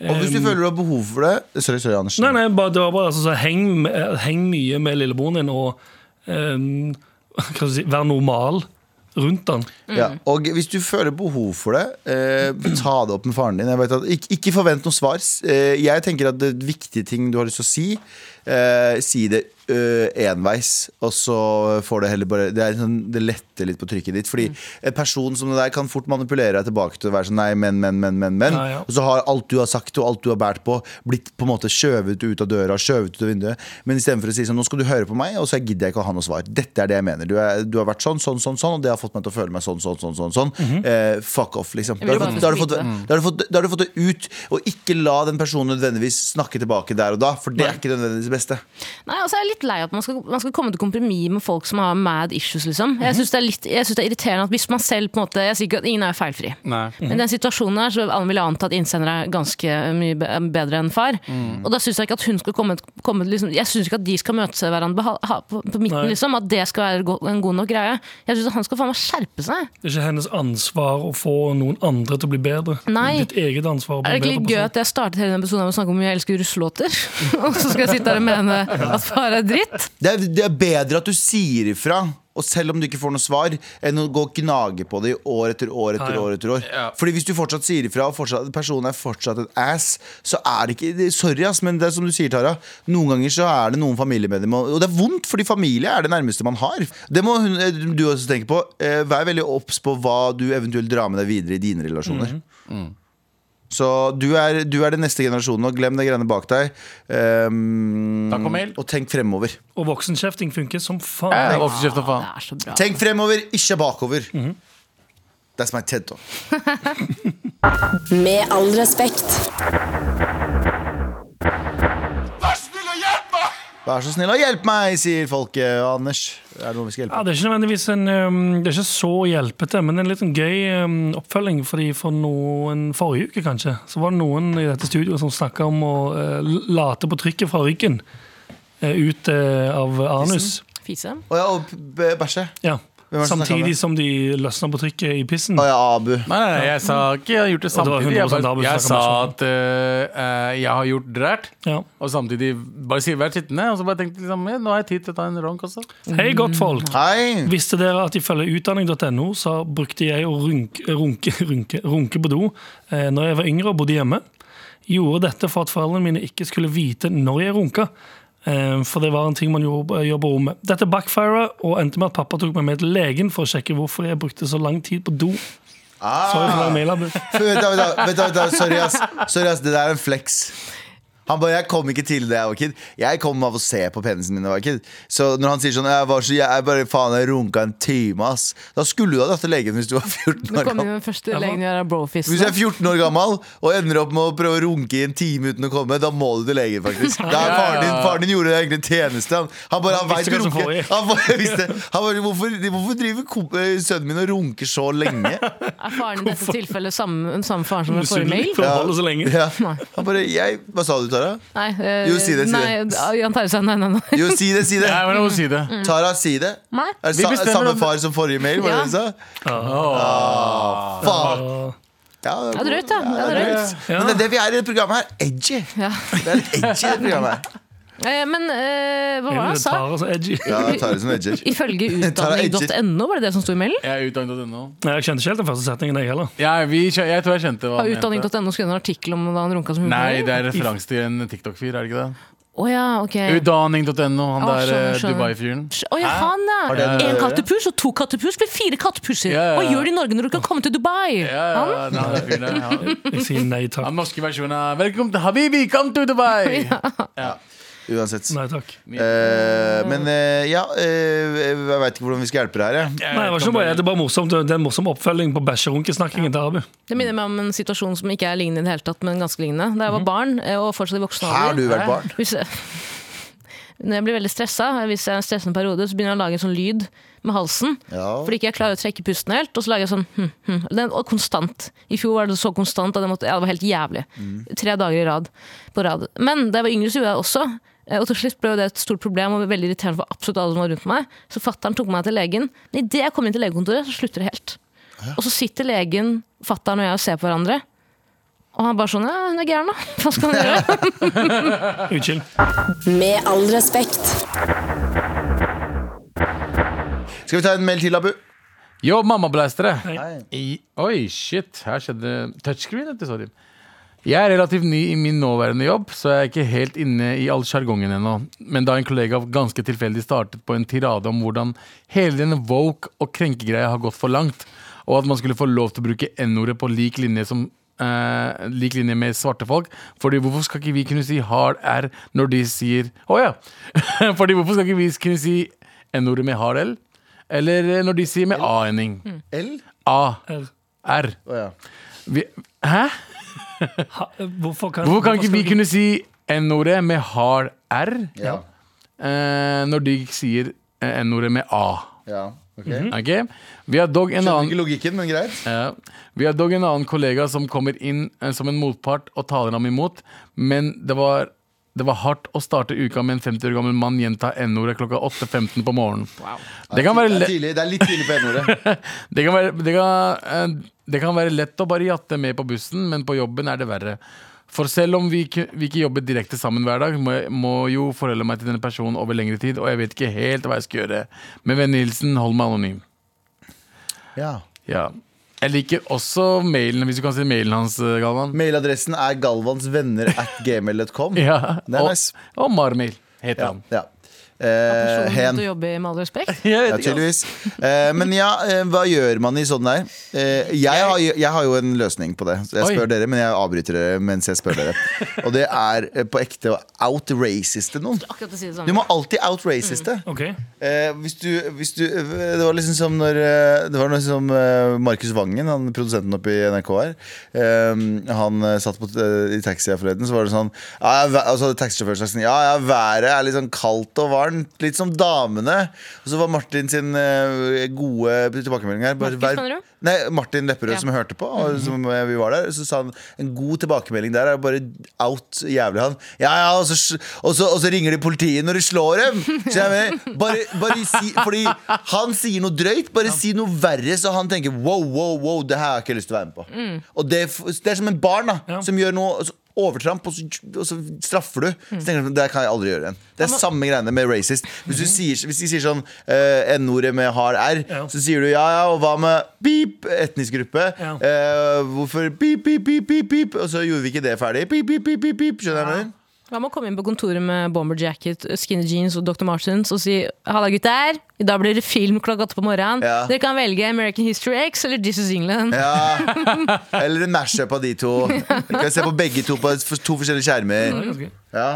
Og hvis du eh, føler du har behov for det Sorry, sorry, Andersen. Nei, nei, bare, det var bare altså, så heng, med- heng mye med lillebroren din, og eh, hva skal jeg si, vær normal rundt han. Ja, og hvis du føler behov for det, eh, ta det opp med faren din. Jeg vet at, ikke, ikke forvent noe svar. Eh, jeg tenker at det viktige ting du har lyst til å si, eh, si det eh, enveis. Og så får det heller bare Det, er sånn, det letter litt på trykket ditt. Mm. Fordi en person som det der kan fort manipulere deg tilbake til å være sånn nei, men, men, men, men. men Ja, ja. Og så har alt du har sagt og alt du har båret på, blitt på en måte skjøvet ut av døra, skjøvet ut av vinduet. Men istedenfor å si sånn nå skal du høre på meg, og så gidder jeg ikke å ha noe svar. Dette er det jeg mener. Du, er, du har vært sånn, sånn, sånn, sånn, og det har fått meg til å føle meg sånn, sånn, sånn. sånn, sånn. eh, fuck off, liksom. Da ville har, du fått, bare da, har du fått, vite. da, har du fått, da har du fått det ut, og ikke la den personen nødvendigvis snakke tilbake der og da, for det er ikke nødvendigvis det beste. Nei, altså Jeg er litt lei av at man skal, man skal komme til kompromiss med folk som har mad issues. liksom Jeg Mhm. syns det, er litt- jeg synes det er irriterende at hvis man selv på en måte Jeg sier ikke at ingen er jo feilfri. Nei. Men i den situasjonen her så vil jeg anta at innsender er ganske mye be- bedre enn far. Mm. Og da syns jeg ikke at hun skal komme, komme liksom, Jeg synes ikke at de skal møte hverandre på, ha- på, på midten, Nei. liksom. At det skal være go en god nok greie. Jeg syns han skal faen meg skjerpe seg. Det er ikke hennes ansvar å få noen andre til å bli bedre. Nei. Ditt eget ansvar å Er det bli ikke bedre litt gøy at jeg startet hele denne episoden med å snakke om hvor mye jeg elsker russelåter? [laughs] og så skal jeg sitte her og mene at far er dritt? Det er, det er bedre at du sier ifra, og selv om du ikke får noe svar, enn å gå og gnage på det i år etter år etter Ja, ja. år. etter år Fordi hvis du fortsatt sier ifra, og fortsatt, personen er fortsatt en ass, så er det ikke det- Sorry, ass, men det er som du sier, Tara. Noen ganger så er det noen familiemedlemmer Og det er vondt, fordi familie er det nærmeste man har. Det må hun, du også tenke på. Eh, Vær veldig obs på hva du eventuelt drar med deg videre i dine relasjoner. Mm-hmm. Mm. Så du er, du er den neste generasjonen, og glem de greiene bak deg. Ehm, Mm. Takk og mail. og tenk fremover. Og voksenkjefting funker som faen. Eh, hvorfor kjefter Det faen? er så bra. Tenk fremover, ikke bakover. Mhm. That's my TED Talk. Med all respekt. Vær så snill og hjelp meg, sier folket. Og Anders, er det noe vi skal Ja, hjelpe? det er ikke nødvendigvis en um, Det er ikke så hjelpete, men en litt sånn gøy um, oppfølging. Fordi For noen forrige uke, kanskje, så var det noen i dette studioet som snakka om å eh, late på trykket fra ryggen eh, ut eh, av anus. Fise. Å ja, og b- bæsje. Ja. Hvem var det som snakket om Samtidig det? som de løsna på trykket i pissen. Å ja, Abu. Nei, nei, nei, jeg sa ikke jeg har gjort det Og det var samtidig. Jeg, 100% bare, Abus jeg snakket om sa det. at eh, eh, jeg har gjort drært, Ja. og samtidig bare sier vær sittende. Og så bare tenkte jeg liksom, ja, nå har jeg tid til å ta en ronk også. Hei, godtfolk! Hei. Visste dere at ifølge utdanning.no så brukte jeg å runke, runke, runke, runke på do eh, når jeg var yngre og bodde hjemme. Gjorde dette for at foreldrene mine ikke skulle vite når jeg runka. Eh, for det var en ting man gjorde, gjorde på rommet. Dette backfira og endte med at pappa tok meg med til legen for å sjekke hvorfor jeg brukte så lang tid på do. Sorry for Ah. det mailen. Vent, da, vent, da, vent, da, vent, da. Sorry, ass. Sorry, ass. Det der er en flex. Han bare, Jeg kom ikke til det jeg var kid. Jeg kom av å se på penisen min da jeg var kid. Så når han sier sånn Jeg var så, jeg, jeg bare faen, jeg runka en time, ass. Da skulle du ha dratt til legen hvis du var 14 Nå år kommer gammel. jo den første legen gjør av Hvis jeg er brofist. 14 år gammel og ender opp med å prøve å runke i en time uten å komme, da må du til legen, faktisk. Da er faren, din, faren din gjorde deg egentlig en tjeneste. Han, han bare, han Han vet visste å hva som runke. foregikk. Han bare, [laughs] visste, han bare hvorfor, hvorfor driver kom- eh, sønnen min og runker så lenge? Er faren i dette tilfellet samme, samme faren som den forrige mail? Misunnelig for å holde så lenge. Ja. Han bare, jeg, Hva sa du, Tara? Nei, eh, Jo, si det, si nei, det. ah, Jan Terje sa nei, nei, nei. Jo, si det, [laughs] si det. Nei, men jeg må si det. Tara, si det. Nei. Er det Vi sa, bestemmer samme om- far som forrige mail? Var det Ja. det du sa? Ah, faen. Ja, det Det er er drøyt, da. Det er drøyt. Men det er det vi er i det programmet her. Edgy. Ja. [laughs] Det er litt edgy i det programmet her. Eh, men eh, hva var det han sa? Tar, altså, edgy. Ja, jeg tar det som edger. Ifølge Tar jeg edger. utdanning.no, var det det som sto i mailen? Jeg er utdannet.no. Nei, Jeg kjente ikke helt den første setningen, jeg heller. Ja, vi kjø- jeg tror jeg kjente hva Har han mente. utdanning.no skrevet en artikkel om da han runka som Nei, det det er referanse til en TikTok-fyr, er det ikke det? ja, ok. Utdanning.no, han Å, der skjønner, eh, skjønner. Dubai-fyren. Å ja, han Har eh, det noe ja. å En gjøre? kattepus og to kattepus blir fire kattepuser. Ja, ja, Hva ja. gjør de i Norge når du kan komme til Dubai? Ja, ja, Han? ja, den fyren der, [laughs] han. Jeg sier nei Den takk. norske versjonen er 'Velkommen til Habibi, come to [laughs] Dubai'! Uansett. Nei takk. Eh, men eh, ja, eh, jeg veit ikke hvordan vi skal hjelpe deg her. jeg. Nei, det, var ikke noe, bare- det er bare morsomt. Det er en morsom oppfølging på bæsjerunkesnakkingen til Abu. Det minner meg om en situasjon som ikke er lignende i det hele tatt, men ganske lignende. Da jeg var Mhm. barn, eh, og fortsatt i voksen Har du alder vært barn? hvis jeg, Når jeg blir veldig stressa, hvis jeg er i en stressende periode, så begynner jeg å lage en sånn lyd med halsen. Ja. Fordi ikke jeg klarer å trekke pusten helt. Og så lager jeg sånn hm, hm. Den, Og konstant. I fjor var det så konstant at jeg måtte, ja, det var helt jævlig. Tre dager i rad på rad. Men da jeg var yngre, så gjorde jeg det også. Eh, Og til slutt ble jo det et stort problem og veldig irriterende for absolutt alle som var rundt meg. Så fatter'n tok meg til legen. Men idet jeg kom inn til legekontoret, så slutter det helt. Og så sitter legen, fatter'n og jeg og ser på hverandre. Og han bare sånn Ja, hun er gæren, da. Hva skal han gjøre? Unnskyld. Med all respekt. Skal vi ta en mail til, Abu? Yo, mammablæstere! Hei. I- Oi, shit. Her skjedde touchscreen. Dette, sorry. Jeg er relativt ny i min nåværende jobb, så jeg er ikke helt inne i all sjargongen ennå. Men da en kollega ganske tilfeldig startet på en tirade om hvordan hele denne woke- og krenkegreia har gått for langt, og at man skulle få lov til å bruke n-ordet på lik linje som eh, lik linje med svarte folk. Fordi hvorfor skal ikke vi kunne si hard r når de sier Å ja! [laughs] Fordi hvorfor skal ikke vi kunne si n-ordet med hard l? Eller eh, når de sier med a-ending. L? A. Her. R. Å ja. Vi, hæ? Ha, hvorfor kan, Hvorfor kan ikke skal vi kunne si N-ordet med hard R Ja. eh, når de sier eh, N-ordet med A? ja. Ok. Ok? Vi har dog en Skjønner annen ikke logikken, men greit. ja. Vi har dog en annen kollega som kommer inn eh, som en motpart og taler ham imot, men det var det var hardt å starte uka med en 50 år gammel mann gjenta N-ordet klokka 8.15 på morgenen. Det kan være Det le- er, tidlig, det er litt tidlig på n-ordet. Det kan, være, det, kan, eh, det kan være lett å bare jatte med på bussen, men på jobben er det verre. For selv om vi, ikke- vi ikke jobber direkte sammen hver dag, må, jeg, må jo forholde meg til denne personen over lengre tid, og jeg vet ikke helt hva jeg skal gjøre. Med vennhilsen, hold meg anonym. Ja. [laughs] Ja. Jeg liker også mailen, hvis du kan si mailen hans, eh, [laughs] Galvan. Mailadressen er galvansvenner at gmail.com. Ja. Det er og, nice. og Marmail heter Ja. han. ja. Eh, Personen hen. måtte jobbe i Med all [laughs] respekt. Jeg Ja, vet ikke, altså. ass. tydeligvis. Eh, men ja, eh, hva gjør man i sånn der? Eh, jeg, har, jo- jeg har jo en løsning på det. Så jeg Oi. spør dere, men jeg avbryter dere mens jeg spør dere. Og det er eh, på ekte å outraciste noen. Akkurat å si det Du samme. må alltid outraciste. Mm, Ok. Eh, hvis du, hvis du, eh, det var liksom som når eh, Det var liksom eh, Markus Vangen, han produsenten oppe i NRK her. eh, han eh, satt på, eh, i taxi her forleden, så var det sånn ja, jeg, væ- Og så hadde taxisjåføren sagt sånn Ja, ja, været er litt sånn kaldt og varmt. Litt som damene. Og så var Martin sin eh, gode tilbakemelding her. bare Markus, vær- mener du? Nei, Martin Lepperød Ja. som hørte på, og som eh, vi var der, så sa han en god tilbakemelding der er bare out jævlig han. Ja, ja, og så, sl- og så, og så ringer de politiet når de slår dem! Så jeg mener, bare, bare si, fordi han sier noe drøyt, bare si noe verre, så han tenker wow, wow, wow, det her har jeg ikke lyst til å være med på. Og det, er f- det er som en barn da, Ja. som gjør noe altså, overtramp, og så, og så straffer du. Så tenker du, Det kan jeg aldri gjøre igjen. Det er samme greiene med racist. Hvis, du sier, hvis de sier sånn eh, N-ordet med hard R, Ja. så sier du ja, ja, og hva med pip, etnisk gruppe? Ja. Eh, hvorfor pip, pip, pip, pip, pip? Og så gjorde vi ikke det ferdig. Pip, pip, pip, pip, pip. Skjønner jeg hva jeg mener? Hva med å komme inn på kontoret med bomber jacket, skinny jeans og Dr. Martens og si 'Halla, gutter! I dag blir det film klokka åtte på morgenen.' Ja. 'Dere kan velge American History X eller This is England'. Ja. Eller en mashup av de to. Du kan se på begge to på to forskjellige skjermer. okay. Ja.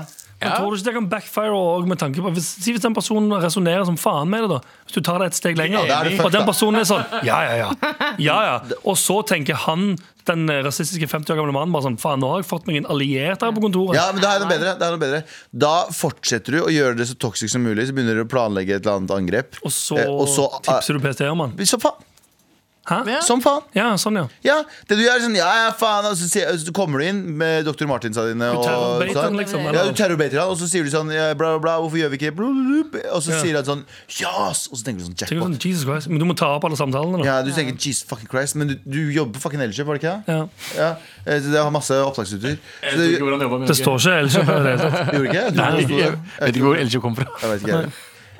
Men Tror du ikke det kan backfire også, med tanke på hvis, si hvis den personen resonnerer som faen med det, da. Hvis du tar det et steg lenger, da er det og fucked den up. personen er sånn Ja, ja, [laughs] ja. ja, ja. Og så tenker han, den rasistiske 50 år gamle mannen, bare sånn Faen, nå har jeg fått meg en alliert her på kontoret. Ja, men da er det noe bedre. Da, er det noe bedre. da fortsetter du å gjøre det så toxic som mulig. Eh, Så begynner du å planlegge et eller annet angrep. Og så, Eh, og så- tipser du PST om han. Så faen Hæ? Som faen. Ja, sånn, ja. Ja, det du gjør er sånn, ja, ja faen Og så, sier, så kommer du inn med Dr. Martinsa dine og, terrorbaiter han, sånn. liksom, ja, eller? du terrorbaiter han Og så sier du sånn, ja, bla bla bla, hvorfor gjør vi ikke det Bla, bla, bla. Og så Ja. sier han sånn, yes Og så tenker du sånn, Tenker sånn, jackpot Jesus Christ. Men du må ta opp alle samtalene, da. Ja, du tenker, Jesus fucking Christ Men du, du jobber på fucking elkjøp, var det ikke det? Ja. Ja, eh, så det har masse opptaksutstyr Så det, ikke Eh, du hvor han jobber, men Det står ikke elkjøp i det hele [laughs] tatt. gjorde ikke? det? Du, Nei, forsto jeg, det? jeg vet ikke hvor Elkjøp kommer fra. Jeg vet ikke jeg.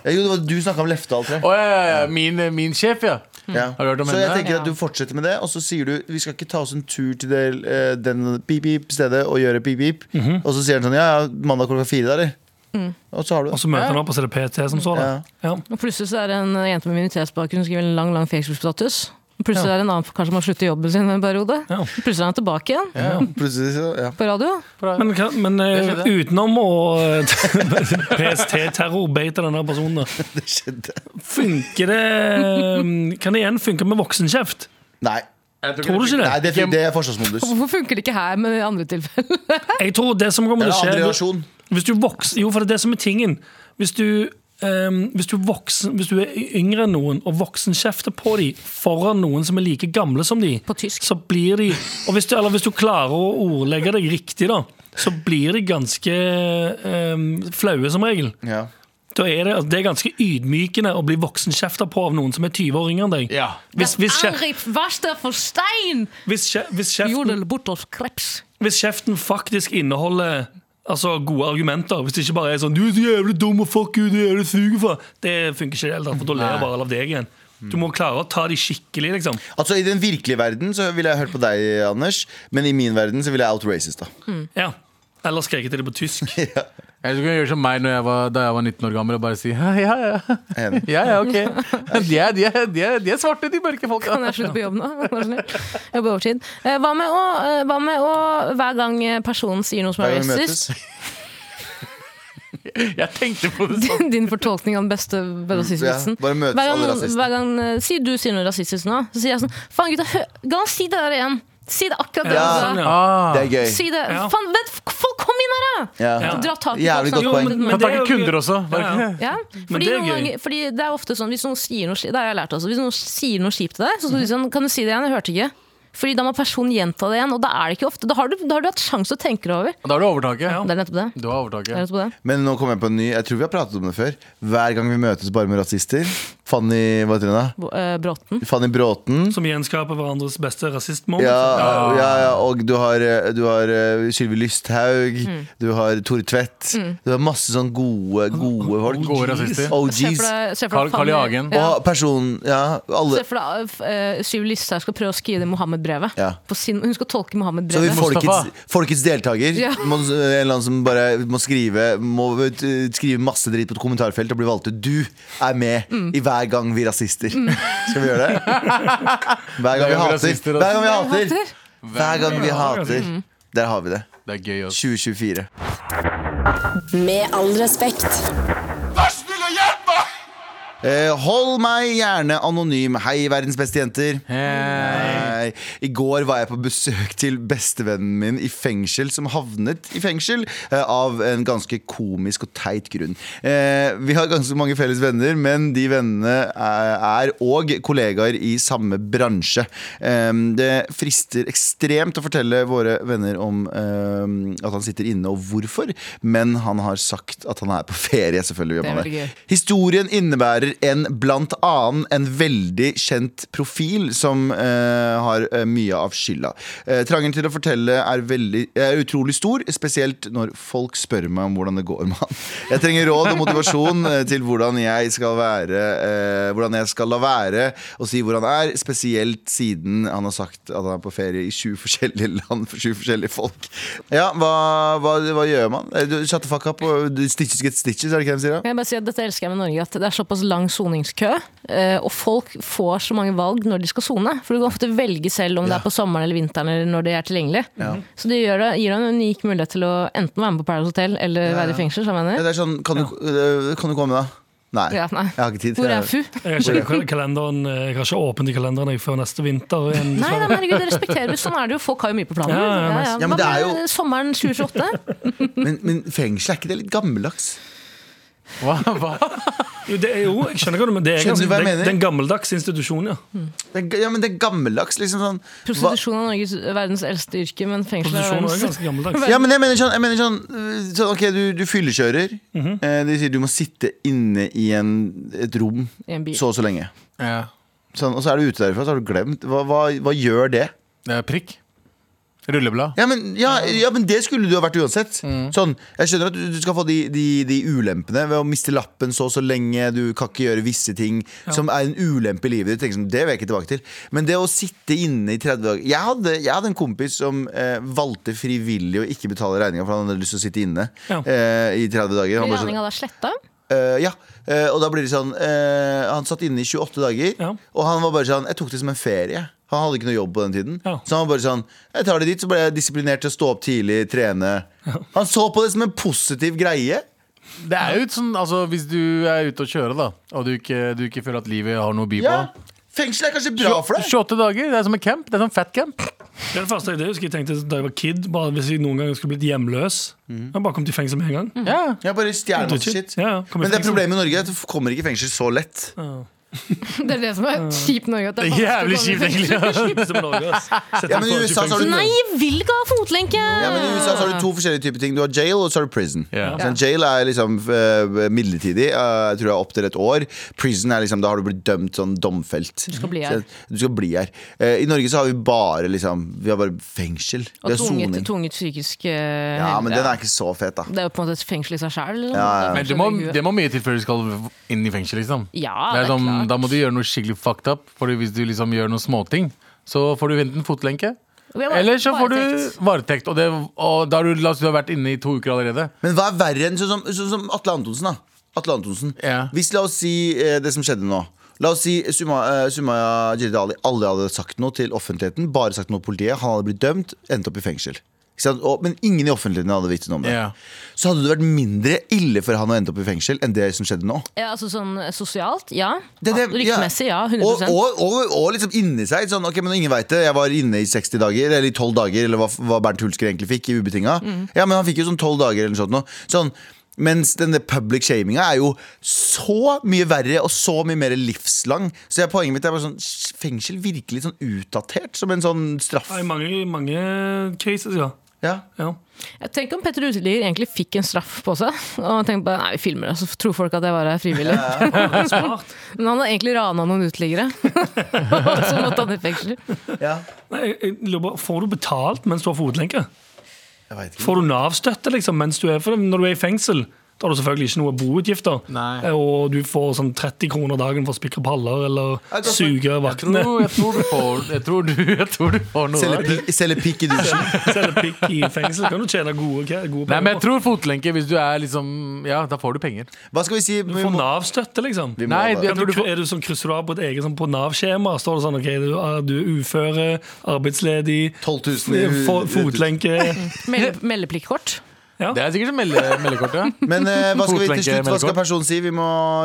ja, Jo, det var du snakket om Leftal, tror jeg Å ja, ja, ja. Min, min sjef, ja. ja. Har du hørt om Så jeg henne? tenker at du fortsetter med det Og så sier du, vi skal ikke ta oss en tur til det, eh, den pip-pip stedet Og gjøre pip-pip Og så sier han sånn, ja, ja, mandag klokka fire der eller? Og så har du det Og så møter han opp, og så er det PT som så, da. Ja. Og plutselig så er det en jente med minoritetsbakgrunn som skriver en lang lang Facebook-status. Og Plutselig er det en annen som kanskje må slutte i jobben sin en periode. Ja. Og Plutselig er han tilbake igjen Ja, [laughs] plutselig så, ja. på radio. Men, hva- men eh, skjedde. utenom å eh, [laughs] PST-terrorbeite denne personen, [laughs] da, Det skjedde. funker det eh, Kan det igjen funke med voksenkjeft? Nei. Tror du ikke det? Nei det, det er forsvarsmodus. Hvorfor funker det ikke her med andre tilfeller? Jeg tror det som Det er en kommer til å annen skje relasjon. Hvis du vokser, jo, for det er det som er tingen. Hvis du, ehm, hvis du, voksen, hvis du er yngre enn noen og voksenkjefter på dem foran noen som er like gamle som de, På tysk. så blir de og hvis du, Eller hvis du klarer å ordlegge deg riktig, da, så blir de ganske ehm, flaue som regel. Ja. Da er det, altså, det er ganske ydmykende å bli voksenkjefta på av noen som er 20 år yngre enn deg. Ja. Hvis, [laughs] hvis, kje- Angrip Varstad for stein! hvis, kje- hvis, kjeften, Jodel Bortolf Kreps. hvis kjeften faktisk inneholder Altså gode argumenter, hvis det ikke bare er sånn 'Du er så jævlig dum og fuck you, du er jævlig suger for'. Det funker ikke i det hele tatt, for da ler bare alle av deg igjen. Du må klare å ta de skikkelig, liksom. Altså I den virkelige verden så ville jeg hørt på deg, Anders. Men i min verden så ville jeg outracist. da Ja. Eller skreke til dem på tysk. Eller så kan du gjøre som meg når jeg var, da jeg var 19 år gammel og bare si ja, ja, ja. Enig. [laughs] ja, ja ok. De er, de, er, de, er, de er svarte, de mørke folka. Kan jeg slutte på jobb nå? Vær så snill. Jobbe overtid. Eh, Hva med, å, eh, hva med å hver gang eh, personen sier noe som Hver er gang vi racist, møtes. [laughs] Jeg tenkte på det sånn. din, [laughs] din fortolkning av den beste rasistvitsen. Ja, bare møtes hver alle gang, rasistene. hver gang eh, si du sier noe rasistisk nå, så sier jeg sånn Faen, gutta, hø, ga han si det der igjen! Si det akkurat det! Ja. du sa. [laughs] Sånn, ja. Ah. Det er gøy. Si det! Ja. Faen, vent, f- folk, kom inn her, da! Ja. Ja. Dra tak i Jævlig folk. godt Jo, poeng. men- men Kan det er takke jo gøy. kunder også. Bare, Ja, ja. Ja, Men fordi, det er noen gøy. ganger, fordi det er ofte sånn Hvis noen sier noe, sli- det har jeg lært også, hvis noen sier noe kjipt til deg, så skal du si sånn Kan du si det igjen? Jeg hørte ikke. Fordi da må personen gjenta det igjen, og da er det ikke ofte. Da har du, da har du hatt sjanse til å tenke deg over. Da har du overtaket. Ja. Det er nettopp det. Du har Det er overtaket. nettopp det. Men nå kommer jeg på en ny. Jeg tror vi har pratet om det før. Hver gang vi møtes bare med rasister. Fanny hva heter hun da? Bo- eh, Bråten. Fanny Bråten. Som gjenskaper hverandres beste rasistmoment. Ja, ja, ja, og du har, eh, du har eh, Sylvi Lysthaug. Du har Tore Tvedt. Du har masse sånn gode, gode folk. Gode rasister. Se for OGs. deg- se for Carl, deg Carl I. Fanny- Hagen. Ja. Og personen Ja, alle. Se for deg uh, Syv Listhaug skal prøve å skrive det Mohammed-brevet. Ja. På sin- Hun skal Så tolke vi Mohammed-brevet. folkets, Mustafa. folkets deltaker. Ja. Må, en eller annen som bare må skrive Må eh, skrive masse dritt på et kommentarfelt og bli valgt ut. Du er med i Hver gang vi rasister. Skal vi gjøre det? Hver gang vi hater. rasister, Mm. Hver gang vi hater. Hater. Hver gang vi hater. Der har vi det. Det er gøy også. 2024. Med all respekt. Eh, hold meg gjerne anonym. Hei, verdens beste jenter. Hei. I går var jeg på besøk til bestevennen min i fengsel, som havnet i fengsel eh, av en ganske komisk og teit grunn. Eh, vi har ganske mange felles venner, men de vennene er, er og kollegaer i samme bransje. Eh, det frister ekstremt å fortelle våre venner om eh, at han sitter inne, og hvorfor, men han har sagt at han er på ferie, selvfølgelig. gjør Det er man veldig gøy. Historien innebærer en blant annen en veldig kjent profil som eh, har eh, mye av skylda. Eh, trangen til å fortelle er, veldig, er utrolig stor, spesielt når folk spør meg om hvordan det går med han. Jeg trenger råd og motivasjon eh, til hvordan jeg skal være eh, Hvordan jeg skal la være å si hvor han er, spesielt siden han har sagt at han er på ferie i sju forskjellige land for sju forskjellige folk. Ja, hva, hva, hva gjør man? Eh, du- Shut the fuck up og stitches get stitches, er det ikke det de sier? da? Kan jeg bare si at Dette elsker jeg med Norge, at det er såpass lang soningskø. eh, Og folk får så mange valg når de skal sone. For du kan ofte velge selv om det Ja. er på sommeren eller vinteren eller når det er tilgjengelig. Så det gjør det, gir deg en unik mulighet til å enten være med på Paradise Hotel eller være i fengsel. sammen med Ja, henne. det er sånn, kan, du, øh, kan du komme da? Nei, Ja, nei. jeg har ikke tid Hvor er FU? Jeg [laughs] har ikke, kalenderen, jeg har ikke åpent i kalenderen jeg, før neste vinter. igjen. Nei, nei, men herregud, det respekterer vi. Sånn er det jo. Folk har jo mye på planen. Ja, ja, nice. Ja, men Hva det er med jo- Sommeren 2028? [laughs] Men, men fengsel, er ikke det litt gammeldags? Hva? Hva? Jo, det er jo, jeg skjønner hva du mener. Det er Skjønner du ganske, hva jeg det, mener? det er en gammeldags institusjon, ja. Det er, g- ja, men det er gammeldags. liksom sånn Hva- Prostitusjon er Norges verdens eldste yrke, men fengsel er Prostitusjon er verdens ganske gammeldags. Ja, men jeg mener sånn, jeg mener sånn, øh, sånn Ok, du, du fyllekjører. Mhm. eh, de sier du må sitte inne i en, et rom I en bil. så og så lenge. Ja. Sånn, og så er du ute derfra, så har du glemt. Hva, hva, hva gjør det? Det er prikk. Rulleblad. Ja men, ja, ja, men det skulle du ha vært uansett. Sånn, jeg skjønner at du, du skal få de, de, de ulempene ved å miste lappen så og så lenge. Du kan ikke gjøre visse ting som er en ulempe i livet ditt. Tenk sånn, Det vil jeg ikke tilbake til. Men det å sitte inne i 30 dager Jeg hadde, jeg hadde en kompis som eh, valgte frivillig å ikke betale regninga, for han hadde lyst til å sitte inne Ja. eh, i 30 dager. Han Blir bare sånn, regninga da sletta? Eh, ja, Eh, og da blir det sånn eh, Han satt inne i 28 dager, Ja. og han var bare sånn Jeg tok det som en ferie. Han hadde ikke noe jobb på den tiden. Ja. Så han var bare sånn Jeg tar det dit, så ble jeg disiplinert til å stå opp tidlig, trene. Han så på det som en positiv greie. Det er jo et sånn, altså Hvis du er ute og kjører, da, og du ikke, du ikke føler at livet har noe å by på Ja, Fengsel er kanskje bra for deg. 28 dager, det er som en camp. Det er som fat camp. Det er det første jeg husker jeg tenkte da jeg var kid, bare hvis jeg noen gang skulle blitt hjemløs. Mm. Jeg bare kom til fengsel med en gang. Ja. Mm. Ja, bare stjerne masse shit. Ja, ja, kom i Men det er fengsel. problemet i Norge at du kommer ikke i fengsel så lett. Det er det som Mm. er kjipt Norge. At det Det er jævlig kjipt, [laughs] egentlig. Kjipt som Norge, ass. Sett Ja, deg men på i et USA så har fengsel. du Nei, jeg vil ikke ha fotlenke! Ja, men I USA så har du to forskjellige typer ting. Du har jail og så har du prison. Ja. Sånn, jail er liksom eh, midlertidig, eh, jeg tror det er opptil et år. Prison er liksom, da har du blitt dømt sånn domfelt. Du skal bli her. du skal bli her. Eh, I Norge så har vi bare liksom Vi har bare fengsel. Vi Og har tvunget, soning. tvunget psykisk eh, Ja, men den helse. er ikke så fet, da. Det er jo på en måte et fengsel i seg sjæl. Liksom. Ja, ja. Men det må, det må mye til før du skal inn i fengsel, liksom. Ja, det er det er som, klart. da må du gjøre noe skikkelig fucked up. Fordi hvis du liksom gjør noen småting, så får du enten fotlenke, Vi har bare- eller så får du varetekt. varetekt. Og, det, og da har du, la oss si du har vært inne i to uker allerede. Men hva er verre enn sånn som, sånn som Atle Antonsen, da? Atle Antonsen. Ja. Hvis la oss si eh, det som skjedde nå. La oss si Sumaya uh, Jilid Ali aldri hadde sagt noe til offentligheten. Bare sagt noe til politiet. Han hadde blitt dømt, endte opp i fengsel. Ikke sant? Og, men ingen i offentligheten hadde visst noe om det. Ja. Så hadde det vært mindre ille for han å ende opp i fengsel enn det som skjedde nå. Ja, altså sånn eh, sosialt, ja. Det- det- Ryktemessig, ja. 100 Og, og, og, og liksom inni seg. Sånn, ok, men Ingen veit det. Jeg var inne i 60 dager, eller i 12 dager, eller hva, hva Bernt Hulsker egentlig fikk i ubetinga. Mm. Ja, men han fikk jo sånn 12 dager eller noe sånt. nå. Sånn, mens denne public shaminga er jo så mye verre og så mye mer livslang. Så jeg, poenget mitt er bare sånn sj- fengsel virkelig sånn utdatert som en sånn straff. Ja, I mange, i mange cases, ja. Ja. ja. Jeg tenker om Petter Uteligger egentlig fikk en straff på seg. Og tenkte bare, nei, vi filmer det, så tror folk at jeg var her frivillig. [laughs] Sånn. Smart. Men han har egentlig rana noen uteliggere. [laughs] så måtte han i fengsel. ja. Nei, jeg, jeg, lurer på, får du betalt mens du har fotlenke? Jeg vet ikke. Får du Nav-støtte liksom, mens du er, for når du er i fengsel? Da har du selvfølgelig ikke noe boutgifter. Nei. Og du får sånn 30 kroner dagen for å spikre paller eller Jeg tror- suge vaktene. Jo, jeg tror du får, jeg tror du, [laughs] jeg tror du får noe. Selge der. pi- Selge pikk i dusjen. Selge pikk i fengsel kan du tjene gode, gode Nei, penger. men jeg tror fotlenke hvis du er liksom Ja, da får du penger. Hva skal vi si? Du Vi får må, Nav-støtte, liksom. vi må Nei, da- det- Kan Jeg tror du, du får- er du sånn, krysser du av på et eget sånn, på Nav-skjema? Står det sånn OK, du er, du er uføre, arbeidsledig, 12 000 i- f- fo- fotlenke Melde, meldepliktkort. Det er sikkert melde, meldekort, ja. Men eh, hva skal vi til slutt? Fotlenke, Hva skal meldekort. personen si? Vi må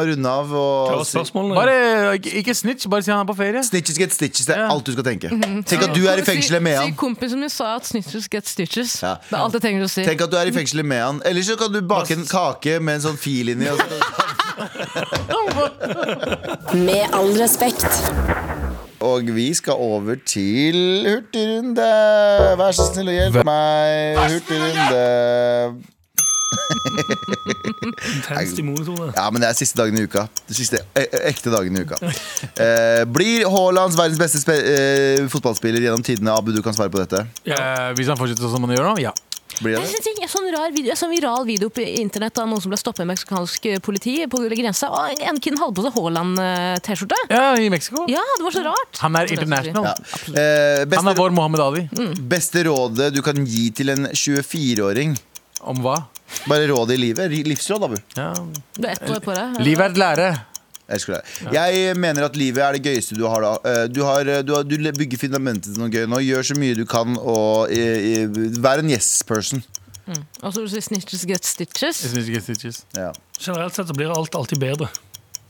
runde av. Og Hva var spørsmålene? Bare, ikke- ikke snitch, bare si han er på ferie. Snitches get stitches, det er Ja. Mhm. alt du skal tenke. Tenk at du er i fengselet med Si han. kompisen min sa at snitches get stitches. Ja. Det er alt jeg trenger å si. Tenk at du er i fengselet med han Eller så kan du bake en kake med en sånn fil inni. og så- [laughs] Med all respekt. Og vi skal over til hurtigrunde. Vær så snill og hjelp meg. Hurtigrunde. Intenst i monitorene. Ja, men det er siste dagen i uka. Det siste e ekte dagen [laughs] i uka. Eh, blir Haalands verdens beste spe eh, fotballspiller gjennom tidene? Abu, du kan svare på dette. Eh, hvis han fortsetter sånn som han gjør nå, ja. Blir Det er [laughs] det? en ting, en sånn, rar video, en sånn viral video på internett av noen som ble stoppet av meksikansk eh, politi på grensa. Og en- en kid hadde på seg Haaland-T-skjorte. ja I Mexico. Ja, det var så rart. Han er international. Ja. Eh, Han er beste, vår Mohammed Ali. beste rådet du kan gi til en 24-åring? Om hva? Bare råd i livet. Livsråd, Abu. Ja. Du er ett år på deg. Livet er et lære. Jeg, elsker det. jeg eh, mener at livet er det gøyeste du har da. Eh, Du, har, eh, du, har, du le- bygger fundamentet til noe gøy nå. Gjør så mye du kan, og eh, eh, vær en yes person. Og så vil du si snitches get stitches. Jeg synes ikke stitches. Ja. Generelt sett så blir alt alltid bedre.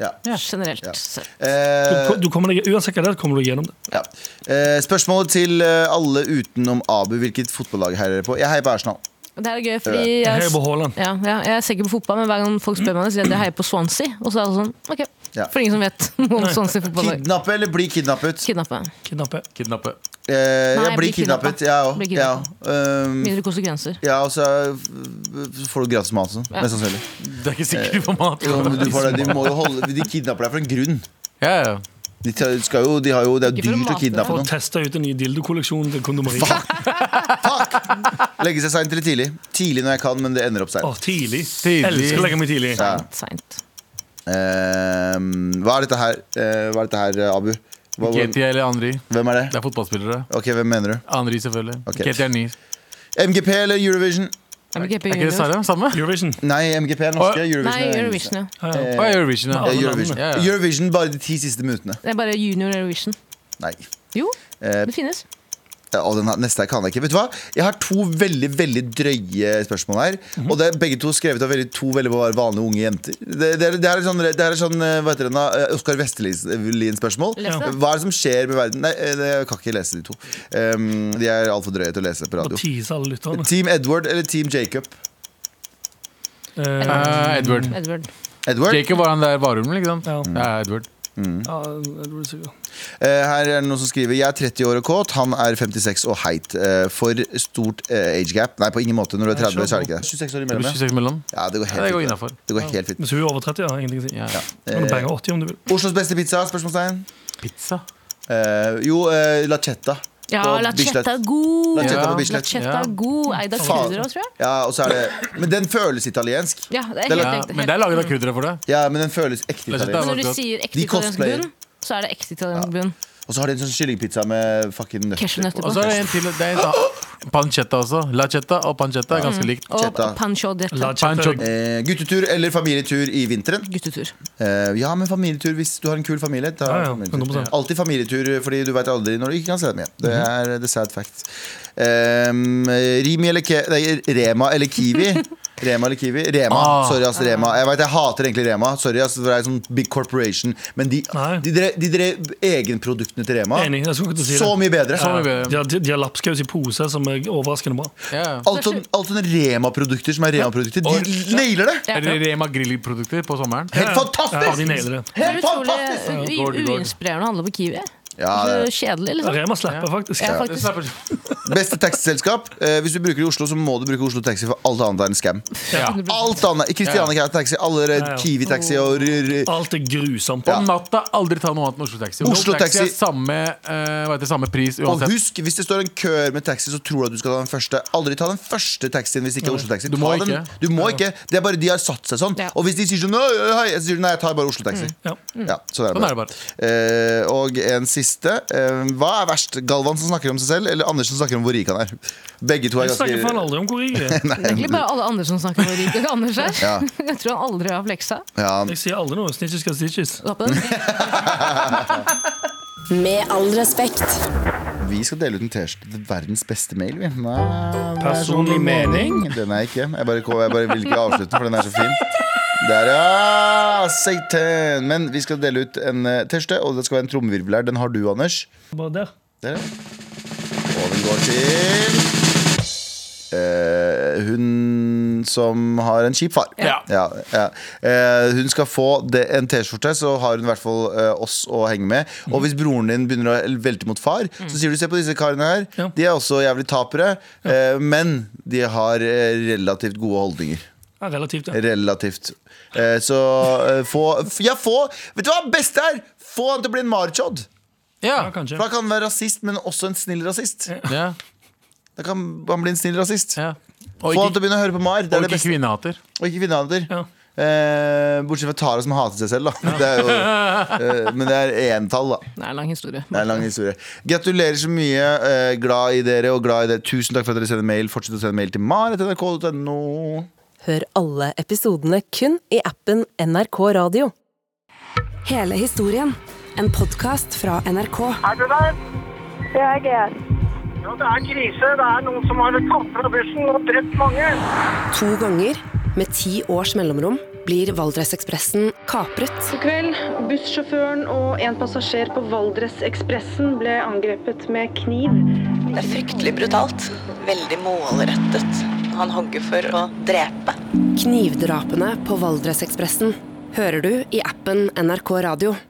Ja. Generelt. Ja. sett. Du, Eh, du kommer deg, uansett hva det er, kommer du gjennom det. ja. Eh, Spørsmålet til eh, alle utenom Abu. Hvilket fotballag heier dere på? Jeg heier på Arsenal. Det her er gøy, fordi Jeg jeg, heier på Haaland. ja, ja, jeg er sikker på fotball, men hver gang folk spør meg det, sier jeg at jeg heier på Swansea. Og så er det sånn, ok, Ja. for ingen som vet [laughs] noe om Swansea fotballag. Kidnappe eller bli kidnappet? Kidnappe. Kidnappe. Kidnappe. Eh, jeg bli blir kidnappet, kidnappet. jeg òg. Bli Ja, kidnappet. um, Mindre konsekvenser. ja, og så eh, får du gratis mat, sånn. Mest sannsynlig. Det er ikke sikkert på mat. Eh, Jo, men du får det. De, må jo holde, de kidnapper deg for en grunn. Ja, ja. De tar- skal jo, de har jo, det er Ikke jo for dyrt å å mate kidnappe For å noen. teste ut den nye dildokolleksjonen til kondomeriet. Fuck! Fuck! Legge seg seint eller tidlig. Tidlig når jeg kan, men det ender opp seint. Åh, tidlig. Tidlig. Elsker å legge meg tidlig. Ja. Seint. Eh, hva er dette her, Eh, hva er dette her Abu? Hva, Ketty eller Andri. hvem er Det det? er fotballspillere. Ok, Hvem mener du? Andri, selvfølgelig. Ok. Ketty er ny. MGP eller Eurovision? Er Er ikke det det samme? Samme? Eurovision. Nei, MGP er norske. Å, Eurovision Nei, er engelske. Eurovision, ja. Ja, Eh, ja. Hva er Eurovision, Ja, da? alle Eurovision. landene. Ja, ja. Eurovision bare de ti siste minuttene. Det er bare junior Eurovision. Nei. Jo, Eh, det finnes. og den her- neste her kan jeg ikke. Vet du hva? Jeg har to veldig veldig drøye spørsmål her. Og det er begge to skrevet av veldig, to veldig bare vanlige unge jenter. Det, det, er, det her er sånn, det her er sånn eh, hva heter den da? Eh, Oskar Vestelien-spørsmål. Les det. Hva er det som skjer med verden? Nei, eh, jeg kan ikke lese de to. Um, de er altfor drøye til å lese på Og radio. tease alle lytterne. Team Edward eller Team Jacob? Eh, Eh, Edward. Mm. Edward. Edward? Mm. Jacob var han der varulven, ikke sant? Ja. Ja, Edward. Ja, Edward Sigurd. Eh, Her er det noen som skriver Jeg er 30 år og kåt, han er 56 og heit Eh, For stort eh, age gap Nei, på ingen måte, når du er 30 år så er det ikke det 26 år Det blir imellom, ja 26 mellom. Ja, det går Ja, det helt går fint innenfor. det. Det går helt fint Hvis hun er over 30, har jeg ingenting å si. Ja. Men du banger 80 om du vil. Oslos beste pizza, spørsmålstegn Pizza. Eh, Jo, eh, lachetta Ja, På Lachetta Bislett. er god! Lachetta Ja. på Bislett Lachetta Ja. er god. Eid av Faen. krydder også, tror jeg. Ja, og så er det Men den føles italiensk Ja, det Det er er Ja, helt riktig. men det er laget av krydderet for det. Ja, men den føles ekte Lachetta er italiensk vanlig. Når du godt. sier ekte De italiensk cosplayer. bunn, så er det ekte italiensk bunn. Og så har de en sånn kyllingpizza med fucking Cashew nøtter nøtter på Og så er det en til. Det er en annen. Pancetta også. Lachetta og pancetta er ganske likt. Og Chetta. pancho detta. La kjefte Pancho- deg. Eh, Guttetur eller familietur i vinteren Guttetur. Eh, ja, men familietur hvis du har en kul familie. Ta Ja, ja, familietur. 100%. Alltid familietur, fordi du veit aldri når du ikke kan se dem igjen. Det Mhm. er the sad fact. Um, Rimi eller Ke nei, Rema eller [laughs] Kiwi? Rema eller Kiwi? Rema. Ah. Sorry, ass, Rema. Jeg vet, jeg hater egentlig Rema. Sorry, ass, for det er sånn big corporation. Men de, Nei. de, drev, de drev egenproduktene til Rema Enig. Jeg skulle ikke til å si så det. mye bedre. Så mye bedre. De har, de de har lapskaus i pose, som er overraskende bra. Ja. Alt sånn- alt sånne Rema-produkter som er Rema-produkter, de nailer det! Er det Rema grillprodukter på sommeren? Helt Ja, de fantastisk! nailer det. Det er Helt fantastisk! utrolig Går det, u- går det. uinspirerende å handle på Kiwi. Ja, Så det er- kjedelig, liksom. Rema slipper faktisk. Ja, Det faktisk. slapper- Beste taxiselskap. Eh, hvis du bruker det i Oslo, så må du bruke Oslo Taxi, for alt annet er en scam. Ja. Alt annet. Kristiane Taxi, alle de ja. Kiwi-taxi og r- r- Alt er grusomt. Om natta aldri ta noe annet enn Oslo Taxi. Oslo Taxi. er samme, eh, hva heter, det, samme pris Og uansett. husk, hvis det står en kø med taxi, så tror du at du skal ta den første. Aldri ta den første taxien hvis det ikke er Oslo Taxi. Du må Ta den. ikke. Du må ikke. Det er bare de har satt seg sånn. Ja. Og hvis de sier sånn «Nei, hei», så sier du nei, jeg tar bare Oslo Taxi. Ja. Ja, sånn er det Sånn er det bare. bare. Eh, og en siste. Eh, hva er verst? Galvan som snakker om seg selv, eller Anders som snakker om hvor rik han er? Begge to er Jeg snakker faen ganske aldri om [laughs] hvor rik jeg er. Det er egentlig bare alle andre som snakker om hvor rik Anders er. Ja. [laughs] Jeg tror han aldri har fleksa. ja, Jeg sier aldri noe. Snitches skal stitches. Ta på den. Med all respekt. Vi skal dele ut en T-skjorte til verdens beste mail. Vi. Nei, sånn Personlig mening? Den er jeg ikke. Jeg bare, jeg bare vil ikke avslutte, for den er så fin. Der, ja! Satan! Men vi skal dele ut en eh, T-skjorte, og det skal være en trommevirvel her. Den har du, Anders. Bare der. Der, ja. Og den går til eh, hun som har en kjip far. Ja. Ja, ja. Eh, hun skal få det, en T-skjorte, så har hun i hvert fall eh, oss å henge med. Mhm. Og hvis broren din begynner å velte mot far, så sier du se på disse karene her. Ja. De er også jævlig tapere, eh, men de har eh, relativt gode holdninger. Ja, relativt, ja. Relativt. Eh, så eh, få f- Ja, få Vet du hva beste er? Få han til å bli en marchod. Ja. ja kanskje. For da kan han være rasist, men også en snill rasist. Ja. Da kan han bli en snill rasist. Ja. Få Og han til ikke, å begynne å høre på Mar. Det og er det ikke beste. kvinnehater. Og ikke kvinnehater. Ja. Eh, bortsett fra Tara som hater seg selv, da. Det er jo, eh, men det er entall, da. Det er en lang historie. Det er en lang historie. Gratulerer så mye. Eh, glad i dere og glad i dere. Tusen takk for at dere sender mail. Fortsett å sende mail til maret.nrk.no. Hør alle episodene kun i appen NRK Radio. Hele historien. En podkast fra NRK. Er du der? Det er det. Ja, det er krise. Det er noen som har tatt fra bussen og drept mange. To ganger, med ti års mellomrom, blir Valdresekspressen kapret. I kveld, bussjåføren og en passasjer på Valdresekspressen ble angrepet med kniv. Det er fryktelig brutalt. Veldig målrettet. han hogger for å drepe. Knivdrapene på Valdresekspressen hører du i appen NRK Radio.